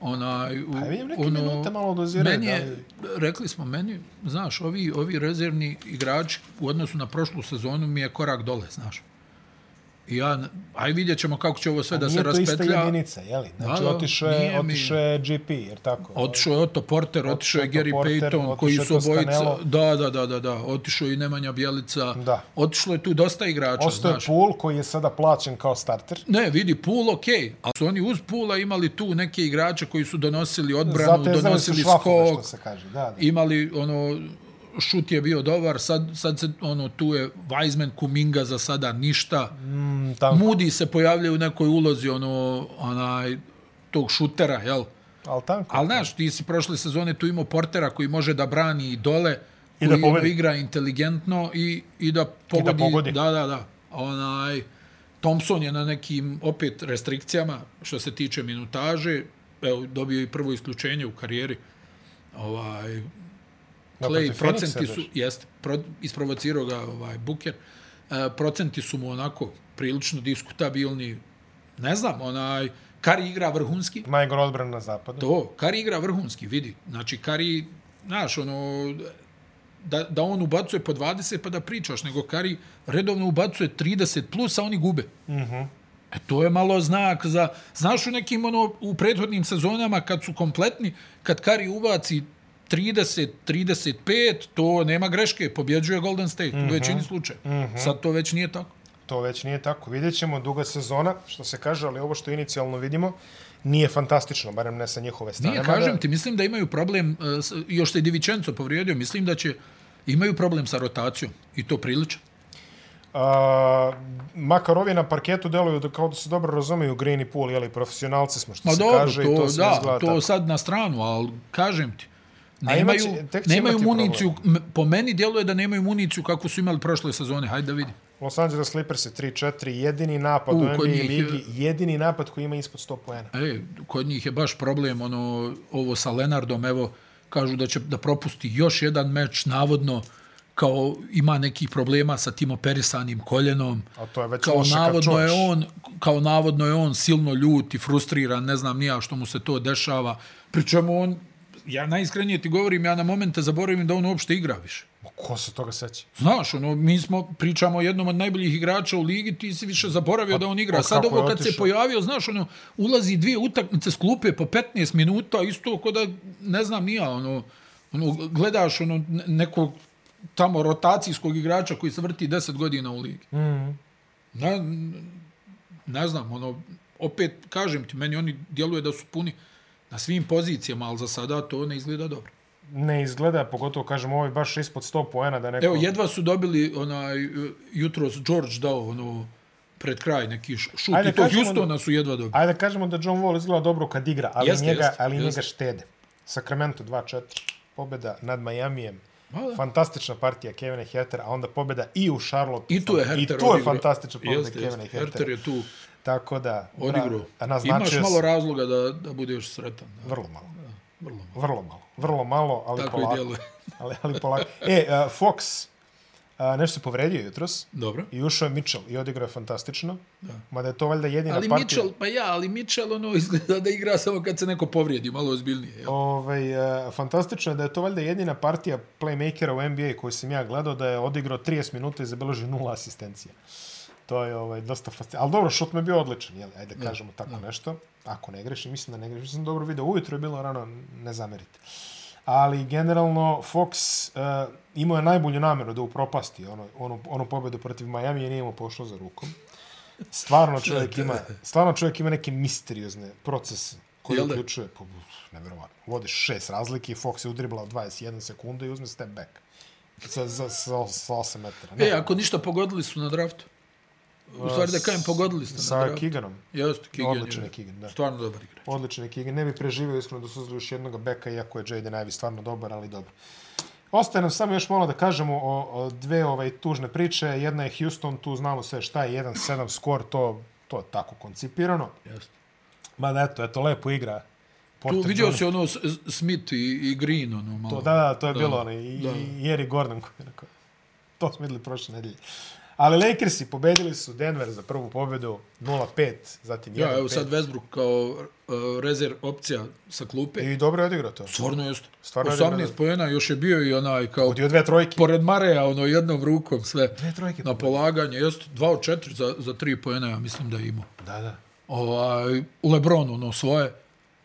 Speaker 1: onaj, u, ono,
Speaker 2: Pa vidim neke minute malo doziraju,
Speaker 1: Meni
Speaker 2: da
Speaker 1: je,
Speaker 2: li-
Speaker 1: rekli smo, meni, znaš, ovi, ovi rezervni igrači u odnosu na prošlu sezonu mi je korak dole, znaš. I ja, aj vidjet ćemo kako će ovo sve da se
Speaker 2: Nije to ista
Speaker 1: raspetlja.
Speaker 2: jedinica, jeli? Znači,
Speaker 1: Da, da,
Speaker 2: otišao je,
Speaker 1: nije mi-
Speaker 2: otišao je GP, jer tako?
Speaker 1: Otišao je Otto Porter, otišao je
Speaker 2: Otto
Speaker 1: Gary
Speaker 2: Porter,
Speaker 1: Payton, koji
Speaker 2: otišao je
Speaker 1: su obojica...
Speaker 2: Toscanello.
Speaker 1: Da, da, da, da, da. Otišao je i Nemanja Bjelica.
Speaker 2: Da.
Speaker 1: Otišlo je tu dosta igrača,
Speaker 2: Ostao je
Speaker 1: znaš.
Speaker 2: Pool koji je sada plaćen kao starter.
Speaker 1: Ne, vidi, Pool okej, okay, ali su oni uz Poola imali tu neke igrače koji su donosili odbranu,
Speaker 2: Zato je znali su
Speaker 1: donosili
Speaker 2: šlafove, što
Speaker 1: skok,
Speaker 2: se kaže. Da, da.
Speaker 1: imali ono šut je bio dobar, sad, sad se, ono, tu je Weizman, Kuminga za sada ništa.
Speaker 2: Mm, tam,
Speaker 1: Moody se pojavlja u nekoj ulozi, ono, onaj, tog šutera, jel?
Speaker 2: ali tanko.
Speaker 1: Ali znaš, ti si prošle sezone tu imao portera koji može da brani i dole,
Speaker 2: I da
Speaker 1: koji ono,
Speaker 2: pobedi.
Speaker 1: igra inteligentno i, i da pogodi.
Speaker 2: pogodi.
Speaker 1: Da, da, da. Onaj, Thompson je na nekim opet restrikcijama što se tiče minutaže. Evo, dobio je i prvo isključenje u karijeri. Ovaj,
Speaker 2: Da,
Speaker 1: Clay,
Speaker 2: protiv Phoenixa
Speaker 1: procenti su,
Speaker 2: baš.
Speaker 1: jest, pro, isprovocirao ga ovaj Buker, e, procenti su mu onako prilično diskutabilni. Ne znam, onaj, Kari igra vrhunski,
Speaker 2: Najgora odbrana na zapadu.
Speaker 1: To, Kari igra vrhunski, vidi. Znači, Kari, znaš, ono, da, da on ubacuje po 20 pa da pričaš, nego Kari redovno ubacuje 30 plus, a oni gube. Mm -hmm. E, to je malo znak za... Znaš, u nekim, ono, u prethodnim sezonama, kad su kompletni, kad Kari ubaci 30, 35, to nema greške, pobjeđuje Golden State u većini slučaja. Sad to već nije tako.
Speaker 2: To već nije tako. Vidjet ćemo, duga sezona, što se kaže, ali ovo što inicijalno vidimo, nije fantastično, barem ne sa njihove strane.
Speaker 1: Nije,
Speaker 2: Mada-
Speaker 1: kažem ti, mislim da imaju problem, e, s- još se i Divičenco povrijedio, mislim da će, imaju problem sa rotacijom i to prilično.
Speaker 2: A, makar ovi na parketu deluju da- kao da se dobro razumeju Green i Pool, jeli, profesionalci smo, što
Speaker 1: Ma
Speaker 2: se
Speaker 1: dobro,
Speaker 2: kaže,
Speaker 1: to,
Speaker 2: i to
Speaker 1: to
Speaker 2: sve
Speaker 1: da,
Speaker 2: izgleda
Speaker 1: to
Speaker 2: tako.
Speaker 1: sad na stranu, ali kažem ti,
Speaker 2: A imat
Speaker 1: nemaju,
Speaker 2: će- tek će
Speaker 1: nemaju
Speaker 2: imati
Speaker 1: municiju, m- po meni djeluje da nemaju municiju kako su imali prošle sezone, hajde da vidim.
Speaker 2: Los Angeles Clippers je 3-4, jedini napad
Speaker 1: U,
Speaker 2: u,
Speaker 1: kod
Speaker 2: NBA
Speaker 1: njih je-
Speaker 2: ligi, jedini napad koji ima ispod 100 poena.
Speaker 1: E, kod njih je baš problem ono ovo sa Lenardom, evo kažu da će da propusti još jedan meč navodno kao ima nekih problema sa tim operisanim koljenom.
Speaker 2: A to je već
Speaker 1: kao
Speaker 2: loše kad
Speaker 1: navodno je
Speaker 2: čuješ.
Speaker 1: on kao navodno je on silno ljut i frustriran, ne znam nija što mu se to dešava. Pričemu on ja najiskrenije ti govorim, ja na momente zaboravim da on uopšte igra više.
Speaker 2: Ma, Ko se toga seća?
Speaker 1: Znaš, ono, mi smo, pričamo o jednom od najboljih igrača u ligi, ti si više zaboravio da on
Speaker 2: pa
Speaker 1: igra. Sad
Speaker 2: kako
Speaker 1: ovo
Speaker 2: je
Speaker 1: kad se
Speaker 2: otišao?
Speaker 1: pojavio, znaš, ono, ulazi dvije utakmice s klupe po 15 minuta, isto ko da, ne znam, nija, ono, ono gledaš ono, ne- nekog tamo rotacijskog igrača koji se vrti 10 godina u ligi.
Speaker 2: Mm.
Speaker 1: Ne, ne znam, ono, opet, kažem ti, meni oni djeluje da su puni na svim pozicijama, ali za sada to ne izgleda dobro.
Speaker 2: Ne izgleda, pogotovo kažem, ovo je baš ispod 100 poena da neko...
Speaker 1: Evo, jedva su dobili onaj, e, jutros George dao ono, pred kraj neki š- šut.
Speaker 2: Ajde,
Speaker 1: I to
Speaker 2: kažemo
Speaker 1: Houstona su jedva dobili.
Speaker 2: Ajde da kažemo da John Wall izgleda dobro kad igra, ali
Speaker 1: Jeste,
Speaker 2: njega,
Speaker 1: jeste,
Speaker 2: ali
Speaker 1: jeste.
Speaker 2: njega štede. Sacramento 2-4, pobjeda nad Majamijem
Speaker 1: Ma da.
Speaker 2: Fantastična partija Kevina Hertera, a onda pobjeda i u Charlotte.
Speaker 1: I tu je Herter
Speaker 2: I tu je
Speaker 1: odigrao.
Speaker 2: fantastična pobjeda
Speaker 1: Jeste, jeste.
Speaker 2: Kevina Hertera.
Speaker 1: Herter je tu
Speaker 2: Tako da, bra-
Speaker 1: odigrao.
Speaker 2: a
Speaker 1: Imaš
Speaker 2: naznačio
Speaker 1: malo
Speaker 2: malo...
Speaker 1: razloga da, da budeš sretan. Da,
Speaker 2: vrlo malo.
Speaker 1: vrlo malo.
Speaker 2: Vrlo malo. Vrlo malo, ali
Speaker 1: Tako i
Speaker 2: polako.
Speaker 1: djeluje.
Speaker 2: ali, ali polako. E, uh, Fox, uh, nešto se povredio jutros
Speaker 1: Dobro.
Speaker 2: i ušao je Mitchell i odigrao je fantastično.
Speaker 1: Da.
Speaker 2: Mada je to valjda jedina
Speaker 1: Ali
Speaker 2: partija.
Speaker 1: Mitchell, pa ja, ali Mitchell ono izgleda da igra samo kad se neko povrijedi, malo ozbiljnije. Jel?
Speaker 2: Ovaj, e, fantastično je da je to valjda jedina partija playmakera u NBA koju sam ja gledao da je odigrao 30 minuta i zabeležio nula asistencija. To je ovaj, dosta fascinantno. Ali dobro, šut mu je bio odličan, jel? ajde da kažemo tako nešto. Ako ne grešim, mislim da ne grešim. Mislim da dobro video, ujutro je bilo rano, ne zamerite. Ali generalno Fox uh, imao je najbolju namjeru da upropasti ono, ono, ono pobedu protiv Miami i nije mu pošlo za rukom. Stvarno čovjek ima, stvarno čovjek ima neke misteriozne procese koji
Speaker 1: Jel da?
Speaker 2: uključuje, po, nevjerovatno, vodiš šest razlike i Fox je udribla 21 sekunda i uzme step back. Sa, za, sa, sa 8 metara.
Speaker 1: E, ako ništa, pogodili su na draftu. U stvari da kažem, pogodili ste na
Speaker 2: Sa
Speaker 1: draftu.
Speaker 2: Kiganom.
Speaker 1: Jeste, Kigan
Speaker 2: Odličan je
Speaker 1: je
Speaker 2: Kigan, da.
Speaker 1: stvarno dobar igrač.
Speaker 2: Odličan je Keegan. Ne bi preživio iskreno da su uzeli još jednog beka, iako je Jaden Ivey stvarno dobar, ali dobro. Ostaje nam samo još malo da kažemo o, o dve ovaj tužne priče. Jedna je Houston, tu znamo sve šta je, 1-7 skor, to, to je tako koncipirano.
Speaker 1: Jeste.
Speaker 2: Mada eto, eto, lepo igra.
Speaker 1: Tu
Speaker 2: Porter
Speaker 1: vidio
Speaker 2: Jr.
Speaker 1: si ono S- S- Smith i, i Green, ono malo.
Speaker 2: To, da, da, to je bilo ono, i,
Speaker 1: da.
Speaker 2: i Jerry Gordon koji je rekao. To smo videli prošle nedelje. Ali Lakersi pobedili su Denver za prvu pobedu 0-5, zatim 1-5.
Speaker 1: Ja, evo sad Westbrook kao uh, rezerv opcija sa klupe.
Speaker 2: I dobro je odigrao to.
Speaker 1: Stvarno jeste.
Speaker 2: Stvarno je
Speaker 1: 18
Speaker 2: dobro.
Speaker 1: pojena, još je bio i onaj kao
Speaker 2: Udio dve trojke.
Speaker 1: pored Mareja, ono jednom rukom sve.
Speaker 2: Dve trojke.
Speaker 1: Na polaganje, jeste 2 od 4 za, za 3 pojena, ja mislim da je imao.
Speaker 2: Da, da.
Speaker 1: Ovaj, Lebron, ono svoje.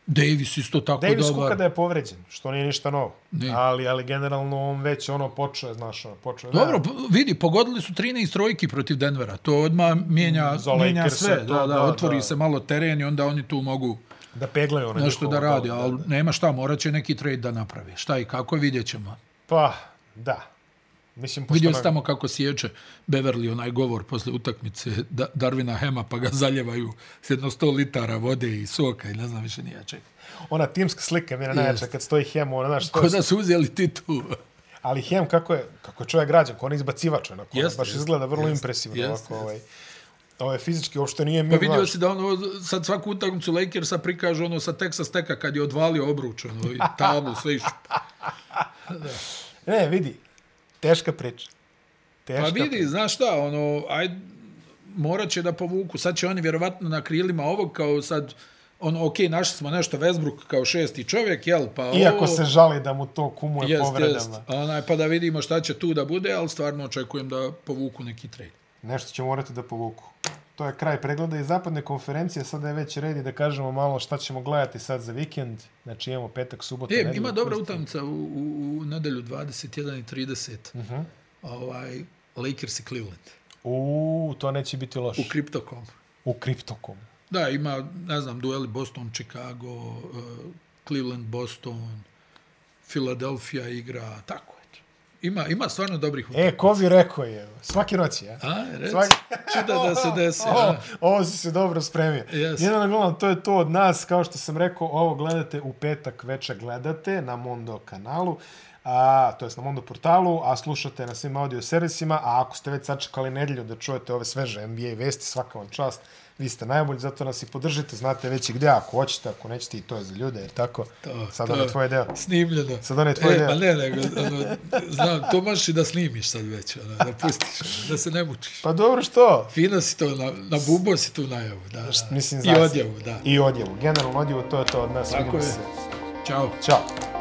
Speaker 1: Davis isto tako
Speaker 2: Davis
Speaker 1: dobar.
Speaker 2: Kuka da je povređen, što nije ništa novo.
Speaker 1: Nije.
Speaker 2: Ali, ali generalno on već ono počeo, je, znaš, ono, počeo. je-
Speaker 1: Dobro, p- vidi, pogodili su 13 trojki protiv Denvera. To odmah mijenja,
Speaker 2: Za
Speaker 1: mijenja
Speaker 2: Lakerse,
Speaker 1: sve.
Speaker 2: to,
Speaker 1: da, da,
Speaker 2: da,
Speaker 1: otvori
Speaker 2: da.
Speaker 1: se malo teren i onda oni tu mogu
Speaker 2: Da, da peglaju ono
Speaker 1: nešto da
Speaker 2: njihovo
Speaker 1: radi.
Speaker 2: dole,
Speaker 1: Ali nema šta, morat će neki trade da napravi. Šta i kako, vidjet ćemo.
Speaker 2: Pa, da. Mislim, pošto...
Speaker 1: Vidio
Speaker 2: nam-
Speaker 1: si tamo kako sjeće Beverly onaj govor posle utakmice da, Darvina Hema, pa ga zaljevaju s jedno 100 litara vode i soka i ne znam više nija čega.
Speaker 2: Ona timska slika mi je najjača, kad stoji Hem, ona, znaš,
Speaker 1: Ko
Speaker 2: stoji...
Speaker 1: da su uzeli titu.
Speaker 2: Ali Hem, kako je, kako je čovjek građan, ko on je izbacivač, onako, ono,
Speaker 1: Jeste,
Speaker 2: baš
Speaker 1: jeste.
Speaker 2: izgleda vrlo impresivno,
Speaker 1: jeste,
Speaker 2: ovako, ovaj... Ovaj, fizički uopšte nije
Speaker 1: Pa
Speaker 2: mil,
Speaker 1: vidio
Speaker 2: znaš.
Speaker 1: si da ono, sad svaku utakmicu Lakersa prikažu ono sa Texas Teka kad je odvalio obruč, ono, i tablu, sve iščup.
Speaker 2: Ne, vidi, teška priča. Teška
Speaker 1: Pa vidi,
Speaker 2: priča.
Speaker 1: znaš šta, ono, aj, morat će da povuku. Sad će oni vjerovatno na krilima ovog, kao sad, ono, okej, našli smo nešto, Westbrook kao šesti čovjek, jel, pa
Speaker 2: Iako
Speaker 1: ovo...
Speaker 2: se žali da mu to kumuje
Speaker 1: Jest,
Speaker 2: povredama.
Speaker 1: jest. Onaj, pa da vidimo šta će tu da bude, ali stvarno očekujem da povuku neki trade.
Speaker 2: Nešto će morati da povuku. To je kraj pregleda iz zapadne konferencije, sada je već redi da kažemo malo šta ćemo gledati sad za vikend. Znači imamo petak, subota,
Speaker 1: E,
Speaker 2: nedelju,
Speaker 1: ima dobra
Speaker 2: pustinje.
Speaker 1: utakmica u, u, u nedelju 21 i 30. Uh
Speaker 2: Mhm.
Speaker 1: -huh. Ovaj, Lakers i Cleveland.
Speaker 2: Uuu, to neće biti loše.
Speaker 1: U Cryptocom.
Speaker 2: U kriptokom.
Speaker 1: Da, ima, ne znam, dueli Boston, Chicago, uh, Cleveland, Boston, Philadelphia igra, tako je. Ima, ima stvarno dobrih utakmica.
Speaker 2: E, ko bi rekao je, svaki noć je.
Speaker 1: A, reci,
Speaker 2: Svaki-
Speaker 1: čuda da se desi.
Speaker 2: Ovo,
Speaker 1: a?
Speaker 2: ovo si se dobro spremio.
Speaker 1: Jes.
Speaker 2: Jedan na glavnom, to je to od nas. Kao što sam rekao, ovo gledate u petak večer gledate na Mondo kanalu, a, to jest na Mondo portalu, a slušate na svim audio servisima, a ako ste već sačekali nedelju da čujete ove sveže NBA vesti, svaka vam čast, vi ste najbolji, zato nas i podržite, znate već i gde, ako hoćete, ako nećete, i to je za ljude, jer tako,
Speaker 1: To,
Speaker 2: sad
Speaker 1: to
Speaker 2: ono
Speaker 1: je
Speaker 2: tvoje deo.
Speaker 1: Snimljeno.
Speaker 2: Sad onaj tvoj
Speaker 1: e,
Speaker 2: deo.
Speaker 1: Pa ne, nego, ono, znam, to možeš i da snimiš sad već, ono, da pustiš, ono, da se ne mučiš.
Speaker 2: Pa dobro što?
Speaker 1: Fino si to, na, na bubo si tu najavu, da, da.
Speaker 2: Mislim,
Speaker 1: I
Speaker 2: znaš.
Speaker 1: odjavu, da.
Speaker 2: I odjevu, generalno odjevu, to je to od nas,
Speaker 1: Tako je.
Speaker 2: vidimo se.
Speaker 1: Ćao.
Speaker 2: Ćao.